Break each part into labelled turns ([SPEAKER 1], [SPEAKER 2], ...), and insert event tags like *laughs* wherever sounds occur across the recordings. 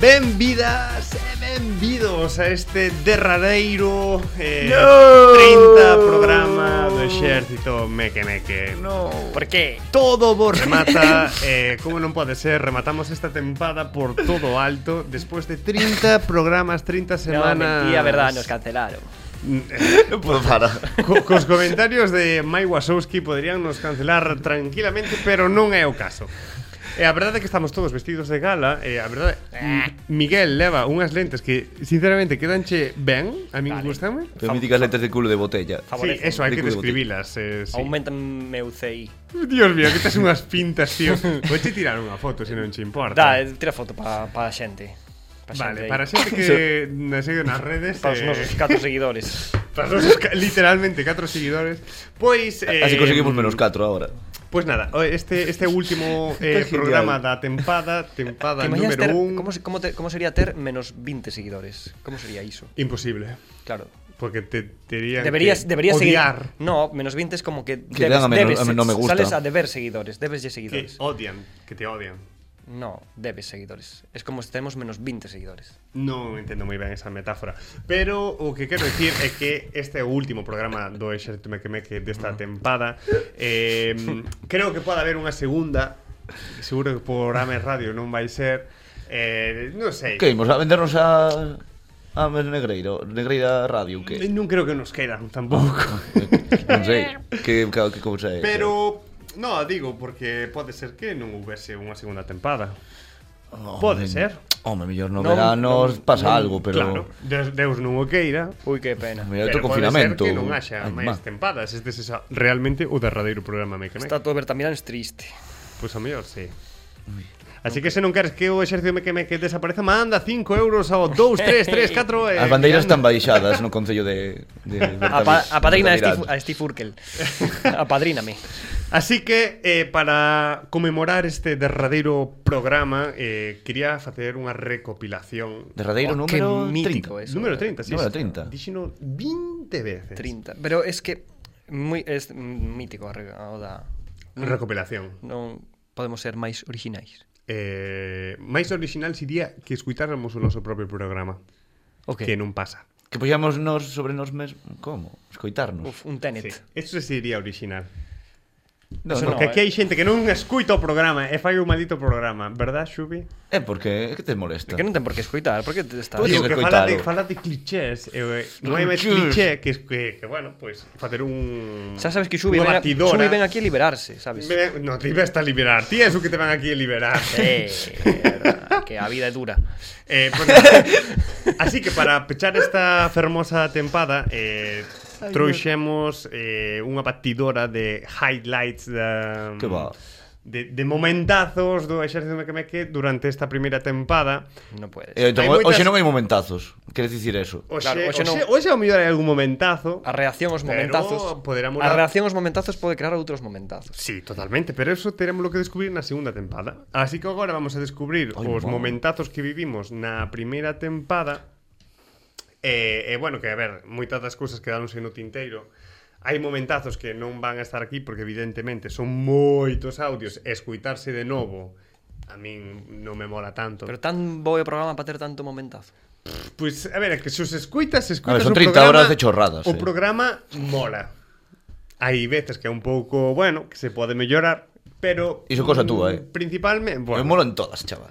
[SPEAKER 1] Benvidas e benvidos a este derradeiro eh,
[SPEAKER 2] No!
[SPEAKER 1] 30 programa do exército meque meque
[SPEAKER 2] No.
[SPEAKER 3] Por qué?
[SPEAKER 1] Todo vos remata, eh, como non pode ser, rematamos esta tempada por todo alto Despois de 30 programas, 30
[SPEAKER 3] No,
[SPEAKER 1] semanas
[SPEAKER 3] mentira, verdad, nos cancelaron.
[SPEAKER 2] No puedo parar.
[SPEAKER 1] Co- Mm. Cos comentarios de Mai Wasowski poderían nos cancelar tranquilamente, pero non é o caso. E a verdade é que estamos todos vestidos de gala e a verdade M- Miguel leva unhas lentes que sinceramente quedanche ben, a min vale.
[SPEAKER 3] Vale.
[SPEAKER 1] gustame.
[SPEAKER 2] Pero míticas lentes de culo de botella.
[SPEAKER 1] Sí,
[SPEAKER 3] Favorecen.
[SPEAKER 1] eso, hai que
[SPEAKER 2] Película de
[SPEAKER 1] describilas. Eh, sí.
[SPEAKER 3] Aumentan meu CI.
[SPEAKER 1] Dios mío, que tes unhas pintas, tío. Vouche tirar unha foto se non che importa.
[SPEAKER 3] Da, eh, tira foto para pa xente. Pa
[SPEAKER 1] Vale,
[SPEAKER 3] xente aí.
[SPEAKER 1] para a xente
[SPEAKER 2] *laughs*
[SPEAKER 1] que nos segue nas redes
[SPEAKER 3] Para
[SPEAKER 1] eh,
[SPEAKER 3] os
[SPEAKER 1] *laughs*
[SPEAKER 3] nosos catro seguidores.
[SPEAKER 1] para os nosos ca- literalmente catro seguidores Pois eh,
[SPEAKER 2] Así Ah, conseguimos menos 4 ahora.
[SPEAKER 1] Pois nada, o- este este último eh,
[SPEAKER 2] Está
[SPEAKER 1] programa
[SPEAKER 2] genial.
[SPEAKER 1] da tempada, tempada
[SPEAKER 3] Te imaginas ter,
[SPEAKER 1] número 1.
[SPEAKER 3] como, se- como, te, como sería ter menos 20 seguidores? Como sería iso?
[SPEAKER 1] Imposible,
[SPEAKER 3] Claro.
[SPEAKER 1] porque te terían
[SPEAKER 3] Deberías,
[SPEAKER 1] que
[SPEAKER 3] deberías seguir.
[SPEAKER 1] odiar
[SPEAKER 3] No, menos 20 es como que.
[SPEAKER 2] Que digan a menos- a no me gusta.
[SPEAKER 3] Sales a deber seguidores. Debes de
[SPEAKER 1] que
[SPEAKER 3] seguidores.
[SPEAKER 1] odian, que te odian.
[SPEAKER 3] No, debes seguidores. Es como si tenemos menos 20 seguidores.
[SPEAKER 1] Non entendo moi ben esa metáfora Pero o que quero dicir é que este é o último programa do Exército Mequemeque desta tempada eh, Creo que pode haber unha segunda Seguro que por Ames Radio non vai ser eh, Non sei
[SPEAKER 2] Que imos a vendernos a... A Negreiro, Negreira Radio, que...
[SPEAKER 1] Non creo que nos queiran tampouco
[SPEAKER 2] non sei, que, que, que cousa é.
[SPEAKER 1] Pero no, digo porque pode ser que non houbese unha segunda tempada.
[SPEAKER 2] Home,
[SPEAKER 1] pode ser.
[SPEAKER 2] Home, mellor no,
[SPEAKER 3] Non,
[SPEAKER 2] verano
[SPEAKER 3] non, non,
[SPEAKER 2] pasa algo, pero...
[SPEAKER 1] Claro, Deus, Deus non o queira.
[SPEAKER 3] Uy, qué pena.
[SPEAKER 2] Mira,
[SPEAKER 1] pero
[SPEAKER 2] outro
[SPEAKER 1] pode
[SPEAKER 2] confinamento.
[SPEAKER 1] ser que non haxa
[SPEAKER 2] Ai,
[SPEAKER 1] máis
[SPEAKER 2] ma.
[SPEAKER 1] tempadas. Este é xa realmente o derradeiro programa Meque
[SPEAKER 3] Está
[SPEAKER 1] Meque.
[SPEAKER 3] todo Bertamirán es triste.
[SPEAKER 1] Pois a mellor, sí. Así que se non queres que o exército Meque Meque desapareza, manda 5 euros ao 2, 3, 3, 4... Eh,
[SPEAKER 2] *laughs* As bandeiras están
[SPEAKER 1] mirando.
[SPEAKER 2] baixadas no concello de... de
[SPEAKER 3] A, pa- a padrina a Steve, a Steve Urkel. *laughs* Apadríname.
[SPEAKER 1] Así que, eh, para conmemorar este derradeiro programa, eh, quería facer unha recopilación
[SPEAKER 2] Derradeiro
[SPEAKER 3] Oh, que
[SPEAKER 2] número
[SPEAKER 3] mítico
[SPEAKER 2] 30.
[SPEAKER 3] eso.
[SPEAKER 1] Número 30, sí.
[SPEAKER 2] Número 30.
[SPEAKER 1] Díxeno 20 veces.
[SPEAKER 3] 30. Pero es que moi, es mítico a re- a oda.
[SPEAKER 1] Mm. Recopilación.
[SPEAKER 3] Non podemos ser máis orixinais.
[SPEAKER 1] Eh, máis original sería que escuitáramos o noso propio programa,
[SPEAKER 3] O que?
[SPEAKER 1] que non pasa.
[SPEAKER 2] Que poíamos nos sobre nos mesmos... Como? Escoitarnos.
[SPEAKER 3] Uf, un tenet.
[SPEAKER 1] Sí. Eso sería original.
[SPEAKER 2] no,
[SPEAKER 3] eso
[SPEAKER 2] no.
[SPEAKER 1] Porque
[SPEAKER 3] eh.
[SPEAKER 1] aquí hai xente que non escuita o programa e fai un maldito programa, verdad, Xubi?
[SPEAKER 2] É Eh, porque... É que te molesta.
[SPEAKER 3] Que non ten por que escoitar, por que te estás...
[SPEAKER 2] Pois-
[SPEAKER 1] Digo,
[SPEAKER 2] que
[SPEAKER 1] que fala de,
[SPEAKER 2] escoitalo.
[SPEAKER 1] fala de clichés e, eh, Non hai máis cliché
[SPEAKER 2] Clichés.
[SPEAKER 1] que, que, que bueno, pois, pues, facer un...
[SPEAKER 3] Xa sabes que Xubi
[SPEAKER 1] unha
[SPEAKER 3] ven, a-
[SPEAKER 1] batidora.
[SPEAKER 3] Xubi ven aquí a liberarse, sabes?
[SPEAKER 1] Ven- No, te ibas a liberar. Ti é eso que te van aquí a
[SPEAKER 3] *laughs*
[SPEAKER 1] liberar.
[SPEAKER 3] Eh, que a vida é dura.
[SPEAKER 1] Eh, pues nada. así que para pechar esta fermosa tempada eh, trouxemos eh, unha batidora de highlights da,
[SPEAKER 2] Que va.
[SPEAKER 1] De, de momentazos do Exército Mequemeque durante esta primeira tempada
[SPEAKER 3] Non podes.
[SPEAKER 2] Eh, entón,
[SPEAKER 1] Hai
[SPEAKER 2] moitas...
[SPEAKER 1] moitas-
[SPEAKER 2] Oxe non hai momentazos. Queres dicir eso?
[SPEAKER 1] Oxe,
[SPEAKER 3] Claro,
[SPEAKER 1] oxe,
[SPEAKER 3] oxe
[SPEAKER 1] oxe, ao
[SPEAKER 3] non-
[SPEAKER 1] mellor hai algún momentazo
[SPEAKER 3] A reacción aos
[SPEAKER 1] Pero
[SPEAKER 3] momentazos.
[SPEAKER 1] poderá
[SPEAKER 3] A
[SPEAKER 1] molar.
[SPEAKER 3] reacción aos momentazos pode crear outros momentazos.
[SPEAKER 1] Sí, totalmente, pero eso teremos lo que descubrir na segunda tempada Así que agora vamos a descubrir
[SPEAKER 2] Ai,
[SPEAKER 1] os
[SPEAKER 2] wow.
[SPEAKER 1] momentazos que vivimos na primeira tempada E, e bueno, que a ver, moitas das cousas quedáronse no tinteiro Hai momentazos que non van a estar aquí porque evidentemente son moitos audios Escuitarse de novo a min non me mola tanto
[SPEAKER 3] Pero tan bo é o programa para ter tanto momentazo.
[SPEAKER 1] Pois, pues, a ver, é que se os escuitas, se escuitas
[SPEAKER 2] A ver,
[SPEAKER 1] o
[SPEAKER 2] son 30
[SPEAKER 1] programa,
[SPEAKER 2] horas de chorradas,
[SPEAKER 1] O
[SPEAKER 2] eh.
[SPEAKER 1] programa mola. Hai veces que é un pouco, bueno, que se pode mellorar, pero...
[SPEAKER 2] Iso cosa túa, eh.
[SPEAKER 1] Principalmente... Bueno, Eh,
[SPEAKER 2] Bueno. Eu molo en todas, chaval.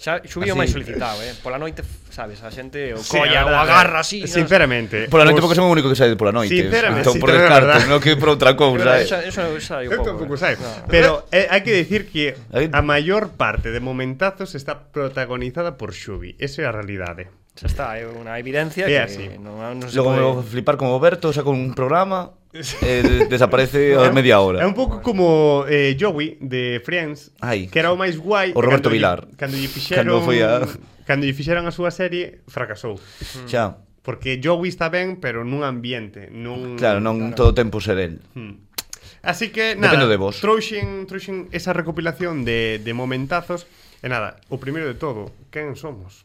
[SPEAKER 3] Xa xubi o
[SPEAKER 2] Así.
[SPEAKER 3] máis solicitado, eh. Pola noite, sabes, a xente o
[SPEAKER 1] sí, a
[SPEAKER 3] colla ou
[SPEAKER 1] verdade.
[SPEAKER 3] agarra así. non?
[SPEAKER 1] Sinceramente. Pues,
[SPEAKER 2] Pola noite
[SPEAKER 1] os-
[SPEAKER 2] porque son o único que sae pola noite.
[SPEAKER 1] Sinceramente,
[SPEAKER 2] Entón, por
[SPEAKER 1] sinceramente,
[SPEAKER 2] descarte,
[SPEAKER 1] verdad.
[SPEAKER 2] non que por outra cousa.
[SPEAKER 3] Eso,
[SPEAKER 2] eh.
[SPEAKER 3] eso, eso hai
[SPEAKER 1] Eu
[SPEAKER 3] un pouco,
[SPEAKER 1] tampouco sei.
[SPEAKER 3] eh. No.
[SPEAKER 1] Pero eh, hai que decir que
[SPEAKER 2] Aí-
[SPEAKER 1] a maior parte de momentazos está protagonizada por Xubi. Esa é a realidade.
[SPEAKER 3] Xa está, é unha evidencia
[SPEAKER 1] É
[SPEAKER 3] que
[SPEAKER 1] así.
[SPEAKER 3] non, non se
[SPEAKER 2] Logo me vou
[SPEAKER 3] pode...
[SPEAKER 2] flipar como Berto, saca un programa, eh, desaparece
[SPEAKER 1] *laughs*
[SPEAKER 2] a media
[SPEAKER 1] É
[SPEAKER 2] hora.
[SPEAKER 1] un pouco como eh, Joey de Friends,
[SPEAKER 2] Ai.
[SPEAKER 1] que era o máis guai.
[SPEAKER 2] O
[SPEAKER 1] cando
[SPEAKER 2] Roberto
[SPEAKER 1] lle-
[SPEAKER 2] Vilar.
[SPEAKER 1] Cando lle fixeron,
[SPEAKER 2] Cando foi a-
[SPEAKER 1] cando lle fixeron a súa serie, fracasou.
[SPEAKER 2] Xa,
[SPEAKER 1] Porque Joey está ben, pero nun ambiente, nun Mm.
[SPEAKER 2] claro, non todo o tempo ser el.
[SPEAKER 1] Así que
[SPEAKER 2] Depende
[SPEAKER 1] nada,
[SPEAKER 2] de vos.
[SPEAKER 1] trouxen, trouxen esa recopilación de, de momentazos E nada, o primeiro de todo, quen somos?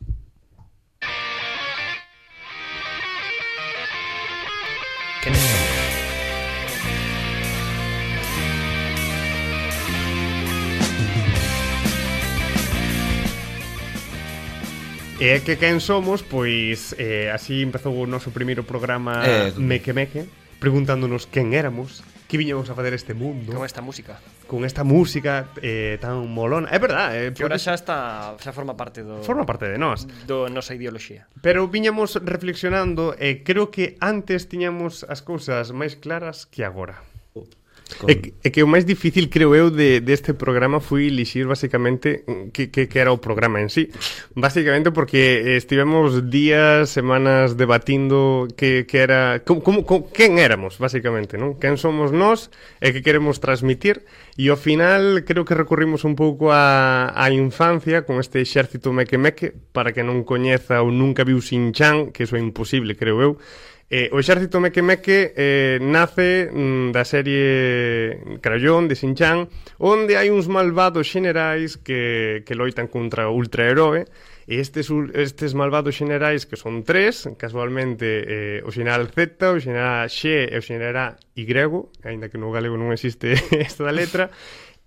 [SPEAKER 3] Que non-
[SPEAKER 1] E é que quen somos, pois eh, así empezou o noso primeiro programa
[SPEAKER 2] Eh,
[SPEAKER 1] Meque Meque Preguntándonos quen éramos, que viñamos a facer este mundo
[SPEAKER 3] Como esta música.
[SPEAKER 1] Con esta música eh, tan molona É verdad, eh,
[SPEAKER 3] Que ahora
[SPEAKER 1] porque
[SPEAKER 3] xa está, xa forma parte do
[SPEAKER 1] forma parte de nós
[SPEAKER 3] do nosa ideoloxía.
[SPEAKER 1] Pero viñamos reflexionando e creo que antes tiñamos as cousas máis claras que agora.
[SPEAKER 2] Con-
[SPEAKER 1] E, que- e que o máis difícil, creo eu, de, deste programa foi elixir basicamente mm, que, que, que era o programa en sí. Basicamente porque eh, estivemos días, semanas debatindo que, que era... Como, como, como, quen éramos, basicamente, non? Quen somos nós e que queremos transmitir. E ao final creo que recurrimos un pouco á a, a infancia con este exército meque-meque para que non coñeza ou nunca viu Sin Chan, que iso é imposible, creo eu. Eh, o exército Meque Meque eh, nace mm, da serie Crayón de Sinchan onde hai uns malvados xenerais que, que loitan contra o ultraheroe e estes, ul- estes malvados xenerais que son tres, casualmente eh, o xeneral Z, o xeneral X e o xeneral Y, aínda que no galego non existe *laughs* esta letra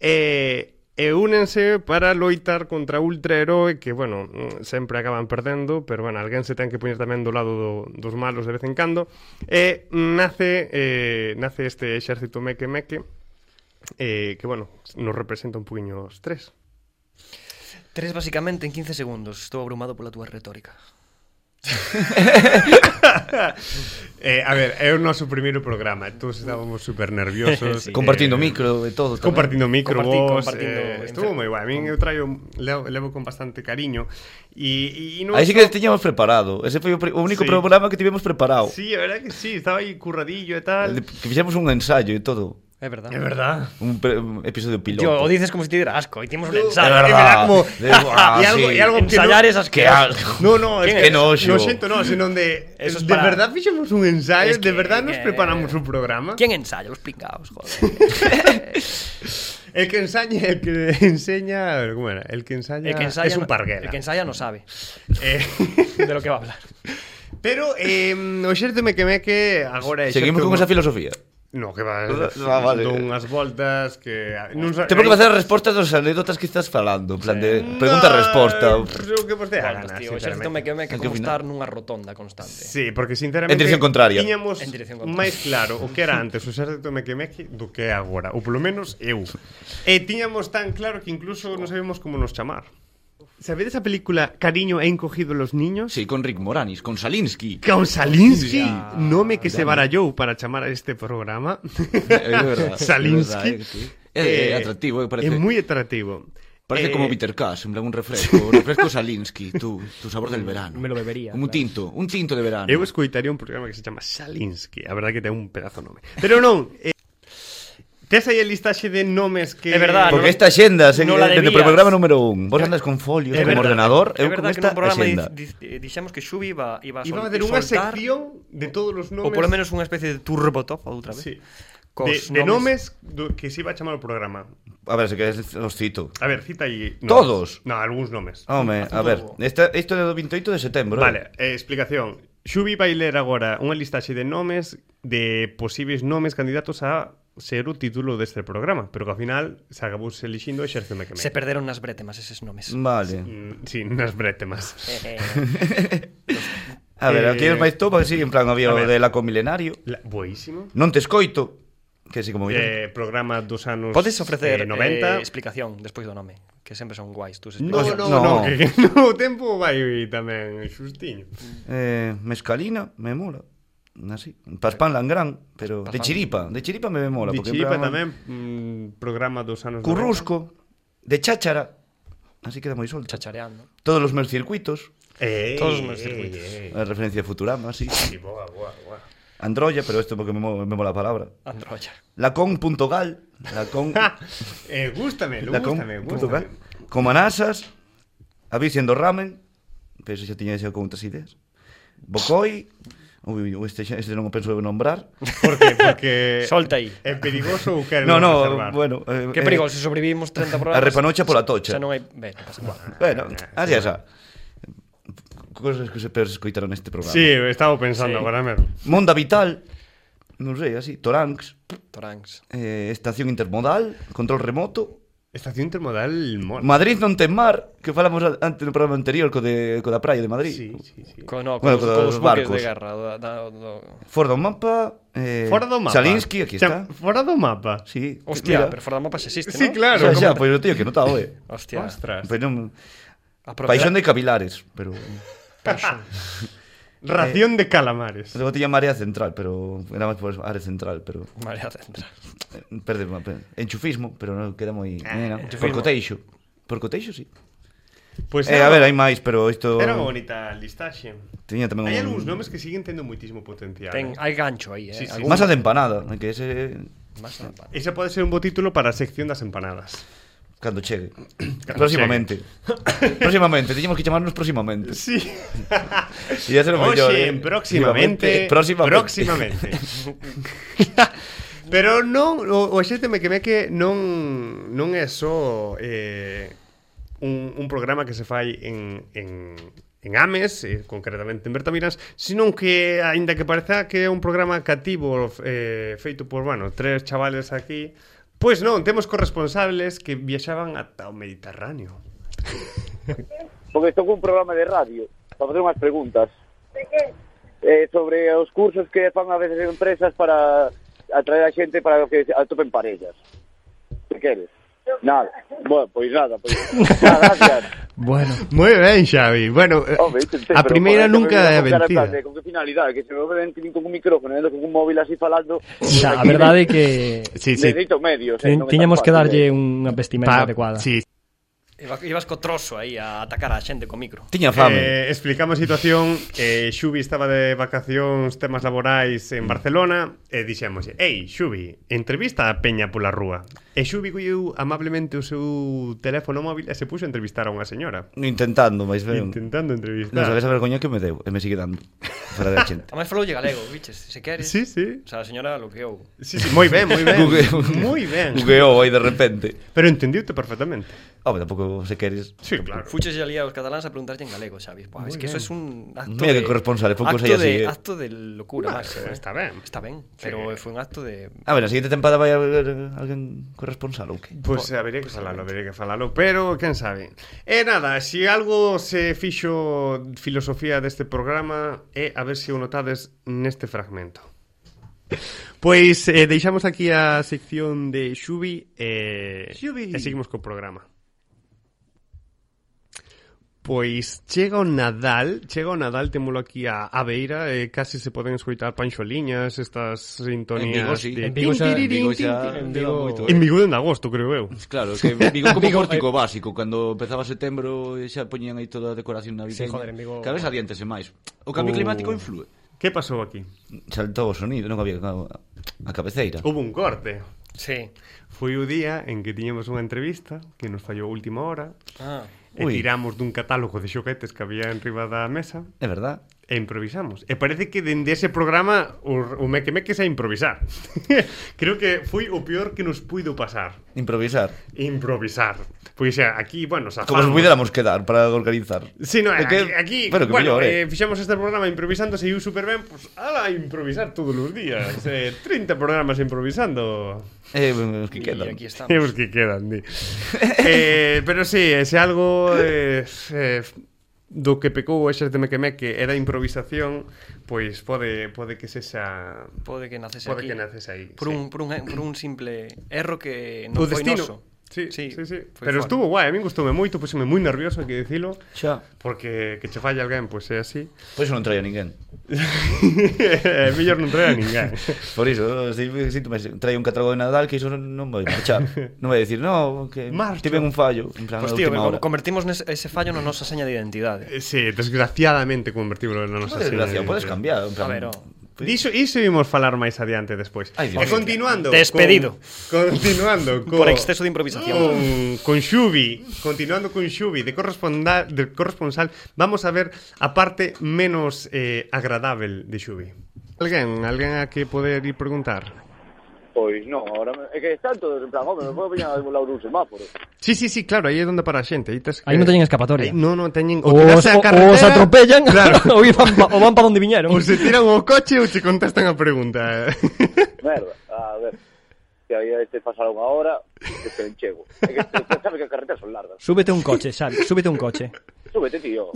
[SPEAKER 1] eh, e únense para loitar contra ultraheroe que, bueno, mm, sempre acaban perdendo, pero, bueno, alguén se ten que poñer tamén do lado do, dos malos de vez en cando. E nace, eh, nace este exército meque meque, eh, que, bueno, nos representa un poquinho os tres.
[SPEAKER 3] Tres basicamente en 15 segundos. Estou abrumado pola túa retórica.
[SPEAKER 1] Eh, a ver, é o noso primeiro programa, todos estábamos super nerviosos.
[SPEAKER 2] *laughs*
[SPEAKER 3] Sí.
[SPEAKER 2] Compartindo micro e todo. tamén.
[SPEAKER 1] Eh, compartindo micro
[SPEAKER 3] Compartí-
[SPEAKER 1] vos,
[SPEAKER 3] compartindo
[SPEAKER 1] eh,
[SPEAKER 3] en
[SPEAKER 1] estuvo
[SPEAKER 3] fe-
[SPEAKER 1] moi guai. A min eu traio levo, levo con bastante cariño e e- e non
[SPEAKER 2] Aí sí
[SPEAKER 1] só-
[SPEAKER 2] que tiñamos preparado. Ese foi o, pri- o único
[SPEAKER 1] Sí.
[SPEAKER 2] programa que tivemos preparado.
[SPEAKER 1] Sí, a verdad que sí, estaba aí curradillo e
[SPEAKER 2] El
[SPEAKER 1] tal.
[SPEAKER 2] de- Que fixemos un ensayo e todo.
[SPEAKER 3] É verdad.
[SPEAKER 1] É verdad.
[SPEAKER 2] Un, pre- un episodio piloto.
[SPEAKER 3] Tío, o dices como se te diera asco. Hicimos un
[SPEAKER 2] de
[SPEAKER 3] ensayo.
[SPEAKER 2] verdad.
[SPEAKER 1] como-
[SPEAKER 2] De- ah,
[SPEAKER 1] *laughs* y algo,
[SPEAKER 2] sí.
[SPEAKER 1] y algo
[SPEAKER 3] Ensayar
[SPEAKER 1] que no-
[SPEAKER 3] esas
[SPEAKER 2] Que asco.
[SPEAKER 1] *laughs* No, no, es
[SPEAKER 2] Que
[SPEAKER 1] que
[SPEAKER 2] noxo.
[SPEAKER 1] Lo
[SPEAKER 3] *laughs*
[SPEAKER 1] siento, no, sino de.
[SPEAKER 3] Eso es
[SPEAKER 1] de
[SPEAKER 3] para-
[SPEAKER 1] verdad fichamos un ensayo,
[SPEAKER 3] Es que-
[SPEAKER 1] de verdad nos
[SPEAKER 3] que-
[SPEAKER 1] preparamos un programa.
[SPEAKER 3] Eh, ¿Quién ensaya? Los
[SPEAKER 1] *laughs*
[SPEAKER 3] pingaos, joder.
[SPEAKER 1] El que ensaña, el que *laughs* enseña. ¿Cómo era? El que ensaña,
[SPEAKER 3] El que ensaya
[SPEAKER 1] es un
[SPEAKER 3] no-
[SPEAKER 1] parguela.
[SPEAKER 3] El que ensaya
[SPEAKER 1] *laughs*
[SPEAKER 3] no sabe
[SPEAKER 1] Eh,
[SPEAKER 3] de lo que va a hablar.
[SPEAKER 1] pero eh, o xerto me quemé que agora é
[SPEAKER 2] *laughs* Seguimos
[SPEAKER 1] xerto
[SPEAKER 2] con
[SPEAKER 1] mo-
[SPEAKER 2] esa filosofía.
[SPEAKER 1] No, que va,
[SPEAKER 2] Ah, vale.
[SPEAKER 1] dou unhas voltas que non sa- eh,
[SPEAKER 2] Temos que facer as respostas dos anécdotas que estás falando, en plan de pregunta-resposta.
[SPEAKER 1] No, o que vos dea gana,
[SPEAKER 3] Voltas, tío. O xército
[SPEAKER 1] sinceramente.
[SPEAKER 3] me que me que
[SPEAKER 2] Hay que
[SPEAKER 3] como estar
[SPEAKER 2] opinar.
[SPEAKER 3] nunha rotonda constante.
[SPEAKER 1] Sí, porque sinceramente
[SPEAKER 2] En dirección contraria.
[SPEAKER 1] Tiñamos
[SPEAKER 3] En dirección contraria.
[SPEAKER 1] máis claro o que era antes o xército mequemeque do que é agora Ou polo menos eu E tiñamos tan claro que incluso non sabemos como nos chamar Sabedes a película Cariño e encogido los niños?
[SPEAKER 2] Sí, con Rick Moranis, con Salinsky.
[SPEAKER 1] Con Salinsky,
[SPEAKER 2] Ya,
[SPEAKER 1] nome que se
[SPEAKER 2] Dani.
[SPEAKER 1] barallou para chamar a este programa
[SPEAKER 2] É
[SPEAKER 1] *laughs*
[SPEAKER 2] verdad, é
[SPEAKER 1] Salinsky
[SPEAKER 2] verdad, sí. É atractivo, eh,
[SPEAKER 1] É
[SPEAKER 2] parece-
[SPEAKER 1] moi atractivo
[SPEAKER 2] Parece
[SPEAKER 1] Eh,
[SPEAKER 2] como Peter Cash, en plan un refresco, refresco Salinsky, tu, tu sabor del verano.
[SPEAKER 3] Mm, Me lo bebería,
[SPEAKER 2] Un
[SPEAKER 3] claro.
[SPEAKER 2] tinto, un tinto de
[SPEAKER 3] Ah,
[SPEAKER 2] verano.
[SPEAKER 1] Eu escoitaría un programa que se chama Salinsky A verdade que ten un pedazo nome Pero non eh, Tes aí a listaxe de nomes que...
[SPEAKER 3] É verdade, no-
[SPEAKER 2] Porque esta xenda, se,
[SPEAKER 3] no la
[SPEAKER 2] desde o
[SPEAKER 3] debías.
[SPEAKER 2] programa número un, vos andas con folios,
[SPEAKER 1] É
[SPEAKER 2] como
[SPEAKER 1] verdade,
[SPEAKER 2] ordenador,
[SPEAKER 3] É
[SPEAKER 2] eu con
[SPEAKER 3] verdad que no
[SPEAKER 2] esta
[SPEAKER 3] programa
[SPEAKER 2] xenda.
[SPEAKER 3] di- di- dixemos que Xubi iba, iba a,
[SPEAKER 1] Iba a
[SPEAKER 3] sol-
[SPEAKER 1] haber unha
[SPEAKER 3] soltar,
[SPEAKER 1] sección de todos los nomes
[SPEAKER 3] ou polo menos unha especie de turbotop outra vez.
[SPEAKER 1] sí.
[SPEAKER 3] Cos
[SPEAKER 1] de, de nomes do, que se iba a chamar o programa
[SPEAKER 2] A ver, se queres os cito.
[SPEAKER 1] A ver, cita aí nomes.
[SPEAKER 2] Todos? Ah,
[SPEAKER 1] No, algúns nomes
[SPEAKER 2] Home, a ver,
[SPEAKER 3] Todo.
[SPEAKER 2] esta, isto é do 28 de setembro.
[SPEAKER 1] Vale, eh, explicación Xubi vai ler agora unha listaxe de nomes De posíveis nomes candidatos a ser o título deste programa Pero que ao final se acabou se elixindo Exérceme que me
[SPEAKER 3] Se perderon nas bretemas eses nomes.
[SPEAKER 2] Vale.
[SPEAKER 1] Mm, Sí, nas bretemas
[SPEAKER 3] Eh, eh,
[SPEAKER 2] A ver, aquí
[SPEAKER 1] Eh,
[SPEAKER 2] os máis topa, sí, en plan había
[SPEAKER 1] a
[SPEAKER 2] o
[SPEAKER 1] ver.
[SPEAKER 2] de Laco Milenario.
[SPEAKER 1] La, Boísimo
[SPEAKER 2] Non te escoito, que sí como
[SPEAKER 1] eh,
[SPEAKER 2] eh,
[SPEAKER 1] Programa dos anos
[SPEAKER 3] Podes
[SPEAKER 1] eh,
[SPEAKER 3] ofrecer
[SPEAKER 1] 90
[SPEAKER 3] eh, explicación despois do nome, que sempre son guais tus
[SPEAKER 1] No,
[SPEAKER 3] explicacións.
[SPEAKER 1] no, no,
[SPEAKER 2] No.
[SPEAKER 1] no, que, *laughs* que no, o tempo vai tamén xustiño.
[SPEAKER 2] eh, mescalina, me mola. Así, Paspán Langrán, pero de
[SPEAKER 3] Paspán.
[SPEAKER 2] chiripa, Eh, de chiripa me mola, porque en
[SPEAKER 1] Dichiripa
[SPEAKER 2] plan-
[SPEAKER 1] tamén, mm, programa dos anos
[SPEAKER 2] Currusco, de cháchara. Así queda moi solto.
[SPEAKER 3] Chachareando.
[SPEAKER 2] Todos os meus circuitos,
[SPEAKER 1] 90. Eh,
[SPEAKER 3] Todos os meus
[SPEAKER 1] eh,
[SPEAKER 3] circuitos.
[SPEAKER 1] eh,
[SPEAKER 2] a referencia a Futurama, sí.
[SPEAKER 1] Sí, boa, boa, boa.
[SPEAKER 2] Androya, pero esto porque me, mo- me mola a palabra.
[SPEAKER 3] Androya.
[SPEAKER 2] Eh, Lacón.gal, *laughs* lacón,
[SPEAKER 1] Ja, eh, gústame, gústame,
[SPEAKER 2] lacón.gal.
[SPEAKER 1] gústame.
[SPEAKER 2] Comanasas, Aviciendo Ramen, pero eso xa tiña ese con outras ideas. Bocoi, Ui, ui, este, xa- este non o penso eu nombrar.
[SPEAKER 1] Por qué?
[SPEAKER 2] *laughs*
[SPEAKER 1] Porque
[SPEAKER 3] Solta aí.
[SPEAKER 1] É perigoso ou quere
[SPEAKER 2] No, no,
[SPEAKER 1] reservar?
[SPEAKER 2] bueno. Eh,
[SPEAKER 3] Que perigo, se sobrevivimos 30 programas.
[SPEAKER 2] a repanocha pola tocha.
[SPEAKER 3] Xa non hai, ben, non pasa nada.
[SPEAKER 2] Eh, bueno, así é xa. Cosas que se per escoitar neste programa.
[SPEAKER 1] Sí, estaba pensando
[SPEAKER 3] Sí.
[SPEAKER 1] agora mesmo.
[SPEAKER 2] Monda Vital, non sei, así, Toranx,
[SPEAKER 3] Toranx.
[SPEAKER 2] eh, estación intermodal, control remoto,
[SPEAKER 1] Estación intermodal mola.
[SPEAKER 2] Madrid non ten mar, que falamos a- antes no programa anterior co, de, co da praia de Madrid.
[SPEAKER 1] Sí, sí, sí.
[SPEAKER 3] Co, no, bueno,
[SPEAKER 2] Bueno, co-
[SPEAKER 3] co, os
[SPEAKER 2] os
[SPEAKER 3] buques
[SPEAKER 2] barcos.
[SPEAKER 3] de guerra. Do, da, do,
[SPEAKER 2] Fora do mapa, eh,
[SPEAKER 1] Fora do mapa.
[SPEAKER 2] Salinsky, aquí
[SPEAKER 1] Xa,
[SPEAKER 2] está.
[SPEAKER 1] Fora do mapa.
[SPEAKER 2] Sí,
[SPEAKER 3] Hostia,
[SPEAKER 2] mira.
[SPEAKER 3] pero fora da mapa se existe,
[SPEAKER 1] Sí,
[SPEAKER 3] ¿no?
[SPEAKER 1] claro.
[SPEAKER 2] Xa, xa,
[SPEAKER 1] como-
[SPEAKER 2] pois o teño que notado,
[SPEAKER 1] *laughs*
[SPEAKER 2] eh.
[SPEAKER 3] Hostia.
[SPEAKER 1] Ostras.
[SPEAKER 2] Pois non,
[SPEAKER 3] A propia-
[SPEAKER 2] paixón de cavilares, pero...
[SPEAKER 1] *laughs* Ración de calamares.
[SPEAKER 2] Eu tiña marea central, pero era máis por área central, pero
[SPEAKER 3] Marea central.
[SPEAKER 2] eh, perde, perde. enchufismo, pero non queda moi, eh, non.
[SPEAKER 3] enchufismo.
[SPEAKER 2] Por coteixo. Por coteixo, sí.
[SPEAKER 1] Pois
[SPEAKER 2] eh, a ver, hai máis, pero isto
[SPEAKER 1] Pues Era unha bonita listaxe.
[SPEAKER 2] tiña tamén
[SPEAKER 1] Hai
[SPEAKER 2] un-
[SPEAKER 1] algúns nomes que siguen tendo moitísimo potencial. eh.
[SPEAKER 3] Ten, hai gancho aí, eh.
[SPEAKER 1] Sí, sí,
[SPEAKER 3] Algún-
[SPEAKER 2] Masa de empanada, eh, que ese
[SPEAKER 3] Masa de pan.
[SPEAKER 1] Ese pode ser un bo título para a sección das empanadas.
[SPEAKER 2] cando chegue.
[SPEAKER 1] *laughs*
[SPEAKER 2] próximamente. próximamente, teñemos que chamarnos próximamente.
[SPEAKER 1] Sí. *laughs*
[SPEAKER 2] E ia ser o mellor.
[SPEAKER 1] Oxe,
[SPEAKER 2] eh.
[SPEAKER 1] próximamente,
[SPEAKER 2] próximamente.
[SPEAKER 1] próximamente. Pero non, o, o xéteme que me que non non é só eh, un, un programa que se fai en, en, en Ames, eh, concretamente en Bertamiras, sino que, aínda que pareza que é un programa cativo eh, feito por, bueno, tres chavales aquí, pois non, temos corresponsables que viaxaban ata o Mediterráneo.
[SPEAKER 4] porque estou cun programa de radio para facer unhas preguntas. Eh, sobre os cursos que fan a veces empresas para atraer a xente para que se atopen parellas. Que queres? Nada. Bueno, pois nada, pois. Nada, gracias.
[SPEAKER 1] Bueno, moi ben, Xavi. Bueno, eh,
[SPEAKER 4] Home, intenté,
[SPEAKER 1] a
[SPEAKER 4] pero,
[SPEAKER 1] primeira
[SPEAKER 4] joder, que
[SPEAKER 1] nunca
[SPEAKER 4] me
[SPEAKER 1] é
[SPEAKER 4] vou cara
[SPEAKER 1] vencida.
[SPEAKER 4] tarde, Con que finalidade, que se me ven que vin con un micrófono, e ando con un móvil así falando.
[SPEAKER 5] Xa, a verdade é que
[SPEAKER 1] Sí, sí.
[SPEAKER 4] Necesito medios. eh,
[SPEAKER 5] ten-
[SPEAKER 4] non é tan
[SPEAKER 5] tiñamos que
[SPEAKER 4] fácil, eh.
[SPEAKER 5] darlle unha vestimenta
[SPEAKER 1] Pa-
[SPEAKER 5] adecuada.
[SPEAKER 1] Sí.
[SPEAKER 2] Eh,
[SPEAKER 3] Iba- Ibas co trozo aí a atacar a xente co micro.
[SPEAKER 2] Tiña fame. Eh...
[SPEAKER 1] Eh, explicamos a situación eh, Xubi estaba de vacacións Temas laborais en Barcelona E dixemos Ei, Xubi, entrevista a Peña pola rúa E Xubi colleu amablemente o seu teléfono móvil E se puxo a entrevistar a unha señora
[SPEAKER 2] Intentando, máis ben.
[SPEAKER 1] Intentando
[SPEAKER 2] Non
[SPEAKER 1] entrevistar
[SPEAKER 2] sabes a vergoña que me deu, e me sigue dando. Para da xente.
[SPEAKER 3] Ademais falou galego, biches, se queres.
[SPEAKER 1] Sí, sí,
[SPEAKER 3] O sea, a señora bloqueou.
[SPEAKER 1] sí, sí. Moi ben, moi ben
[SPEAKER 2] Google-
[SPEAKER 1] Moi ben
[SPEAKER 2] Bugueou aí de repente.
[SPEAKER 1] Pero entendiute perfectamente
[SPEAKER 2] Home, tampouco se queres.
[SPEAKER 1] Sí, claro
[SPEAKER 3] Fuches ali aos cataláns a preguntarlle en galego, Xavi. Buah, es que eso es un acto
[SPEAKER 2] Mira que
[SPEAKER 3] de-
[SPEAKER 2] corresponsal, poucos
[SPEAKER 3] acto
[SPEAKER 2] hai así,
[SPEAKER 3] de,
[SPEAKER 2] eh.
[SPEAKER 3] acto de locura
[SPEAKER 1] Ah,
[SPEAKER 3] máxima.
[SPEAKER 1] Está ben
[SPEAKER 3] Está ben, pero foi un acto de
[SPEAKER 2] A ver, a seguinte tempada vai haber eh, alguén corresponsal ou que?
[SPEAKER 1] Pois pues, habería que falalo, habería que falalo, pero quen sabe. E nada, se algo se fixo filosofía deste programa é a ver se o notades neste fragmento. Pois eh, deixamos aquí a sección de Xubi e,
[SPEAKER 2] Xubi.
[SPEAKER 1] e seguimos co programa. Pois chega o Nadal, chega o Nadal, témolo aquí a, a Beira, eh, casi se poden escoitar panxoliñas, estas sintonías
[SPEAKER 2] En Vigo, sí.
[SPEAKER 1] de...
[SPEAKER 5] En Vigo xa-
[SPEAKER 1] Tin, tirirín,
[SPEAKER 2] Vigo
[SPEAKER 1] tin,
[SPEAKER 2] xa
[SPEAKER 1] tin.
[SPEAKER 5] en
[SPEAKER 2] leva
[SPEAKER 5] Vigo-
[SPEAKER 2] moito, eh.
[SPEAKER 1] En Vigo en agosto, creo eu.
[SPEAKER 2] Claro, que Vigo como
[SPEAKER 5] Vigo,
[SPEAKER 2] pórtico básico Cando empezaba setembro e xa poñían aí toda a decoración
[SPEAKER 5] Sí,
[SPEAKER 2] navideña
[SPEAKER 5] joder, en Vigo-
[SPEAKER 2] Cada vez adiéntese máis O
[SPEAKER 1] Oh.
[SPEAKER 2] cambio climático influe
[SPEAKER 1] Que pasou aquí?
[SPEAKER 2] Saltou o sonido, non había a, a cabeceira
[SPEAKER 1] Houve un corte.
[SPEAKER 3] Sí.
[SPEAKER 1] Foi o día en que tiñemos unha entrevista que nos fallou a última hora
[SPEAKER 3] Ah.
[SPEAKER 1] e
[SPEAKER 2] Ui.
[SPEAKER 1] tiramos dun catálogo de xoguetes que había enriba da mesa
[SPEAKER 2] É verdad
[SPEAKER 1] e improvisamos. E parece que dende ese programa o, o meque meque a improvisar. *laughs* Creo que foi o peor que nos puido pasar.
[SPEAKER 2] Improvisar
[SPEAKER 1] Improvisar. Pois xa, aquí, bueno, zafamos.
[SPEAKER 2] Como se puidéramos quedar para organizar
[SPEAKER 1] Sí, no,
[SPEAKER 2] É
[SPEAKER 1] aquí,
[SPEAKER 2] que-
[SPEAKER 1] aquí
[SPEAKER 2] Pero que
[SPEAKER 1] bueno,
[SPEAKER 2] mellor,
[SPEAKER 1] eh,
[SPEAKER 2] eh.
[SPEAKER 1] fixamos este programa improvisando, seguiu super ben, pues, ala, improvisar todos os días. Eh, 30 programas improvisando.
[SPEAKER 2] Eh, os
[SPEAKER 3] Y
[SPEAKER 2] que quedan
[SPEAKER 3] aquí
[SPEAKER 2] *laughs*
[SPEAKER 3] estamos.
[SPEAKER 1] E os que quedan, di. *laughs* eh, pero sí, ese algo eh, eh, do que pecou o Exerte Mequemeque era a improvisación, pois pode, pode que sexa...
[SPEAKER 3] Pode que naces
[SPEAKER 1] Pode
[SPEAKER 3] aquí.
[SPEAKER 1] que naces aí. sí.
[SPEAKER 3] Por, un, por, un, por un simple erro que
[SPEAKER 1] o
[SPEAKER 3] non foi
[SPEAKER 1] destino.
[SPEAKER 3] noso.
[SPEAKER 1] Sí, sí, sí, sí.
[SPEAKER 3] foi
[SPEAKER 1] Pero
[SPEAKER 3] fora.
[SPEAKER 1] estuvo guai, a min gustoume moito, puseme moi nervioso, hai que dicilo,
[SPEAKER 2] Xa
[SPEAKER 1] porque que che falla alguén, pois é
[SPEAKER 3] *laughs*
[SPEAKER 1] así.
[SPEAKER 2] Por iso non traía ninguén
[SPEAKER 1] É mellor non traer a
[SPEAKER 3] *laughs*
[SPEAKER 1] ninguén.
[SPEAKER 2] Por iso, eh, si- sinto máis Traía un catálogo de Nadal que iso non, non vai marchar Non vai dicir, no, que
[SPEAKER 1] Marcho.
[SPEAKER 2] tiven un fallo En plan,
[SPEAKER 3] Pois
[SPEAKER 2] pues
[SPEAKER 3] tío,
[SPEAKER 2] última hora
[SPEAKER 3] con- convertimos nes, ese fallo na nosa seña de identidade.
[SPEAKER 1] Eh, Sí, desgraciadamente convertíbolo na nosa
[SPEAKER 2] Podes, gracia,
[SPEAKER 1] señal.
[SPEAKER 2] podes cambiar en plan,
[SPEAKER 3] A ver, o-
[SPEAKER 1] Diso, iso imos falar máis adiante despois.
[SPEAKER 2] Ai,
[SPEAKER 1] e
[SPEAKER 2] Dios.
[SPEAKER 1] continuando.
[SPEAKER 3] Despedido.
[SPEAKER 1] Con, continuando. Co,
[SPEAKER 3] Por exceso de improvisación.
[SPEAKER 1] Con, con Xubi. Continuando con Xubi de, corresponda- de corresponsal. Vamos a ver a parte menos eh, agradável de Xubi. Alguén, alguén a que poder ir preguntar?
[SPEAKER 4] Pois non, ahora me... é que están todos en plan, home, me podo peñar a volar un semáforo.
[SPEAKER 1] Sí, sí, sí, claro, aí é onde para a xente. Aí, tes que...
[SPEAKER 5] Aí non teñen escapatoria.
[SPEAKER 1] Aí non, non teñen...
[SPEAKER 5] O,
[SPEAKER 1] te
[SPEAKER 5] os,
[SPEAKER 1] das
[SPEAKER 5] o,
[SPEAKER 1] a carretera,
[SPEAKER 5] o os atropellan *laughs*
[SPEAKER 3] *laughs*
[SPEAKER 1] Claro.
[SPEAKER 5] ou, van, pa- ou van para onde viñeron.
[SPEAKER 1] Ou se tiran o coche ou te contestan a pregunta. *laughs*
[SPEAKER 4] Merda, a ver. Que había este pasar unha hora, que se enchego. É que usted sabe que as carreteras son largas.
[SPEAKER 5] Súbete a un coche, Xavi, súbete a un coche.
[SPEAKER 4] Súbete, tío.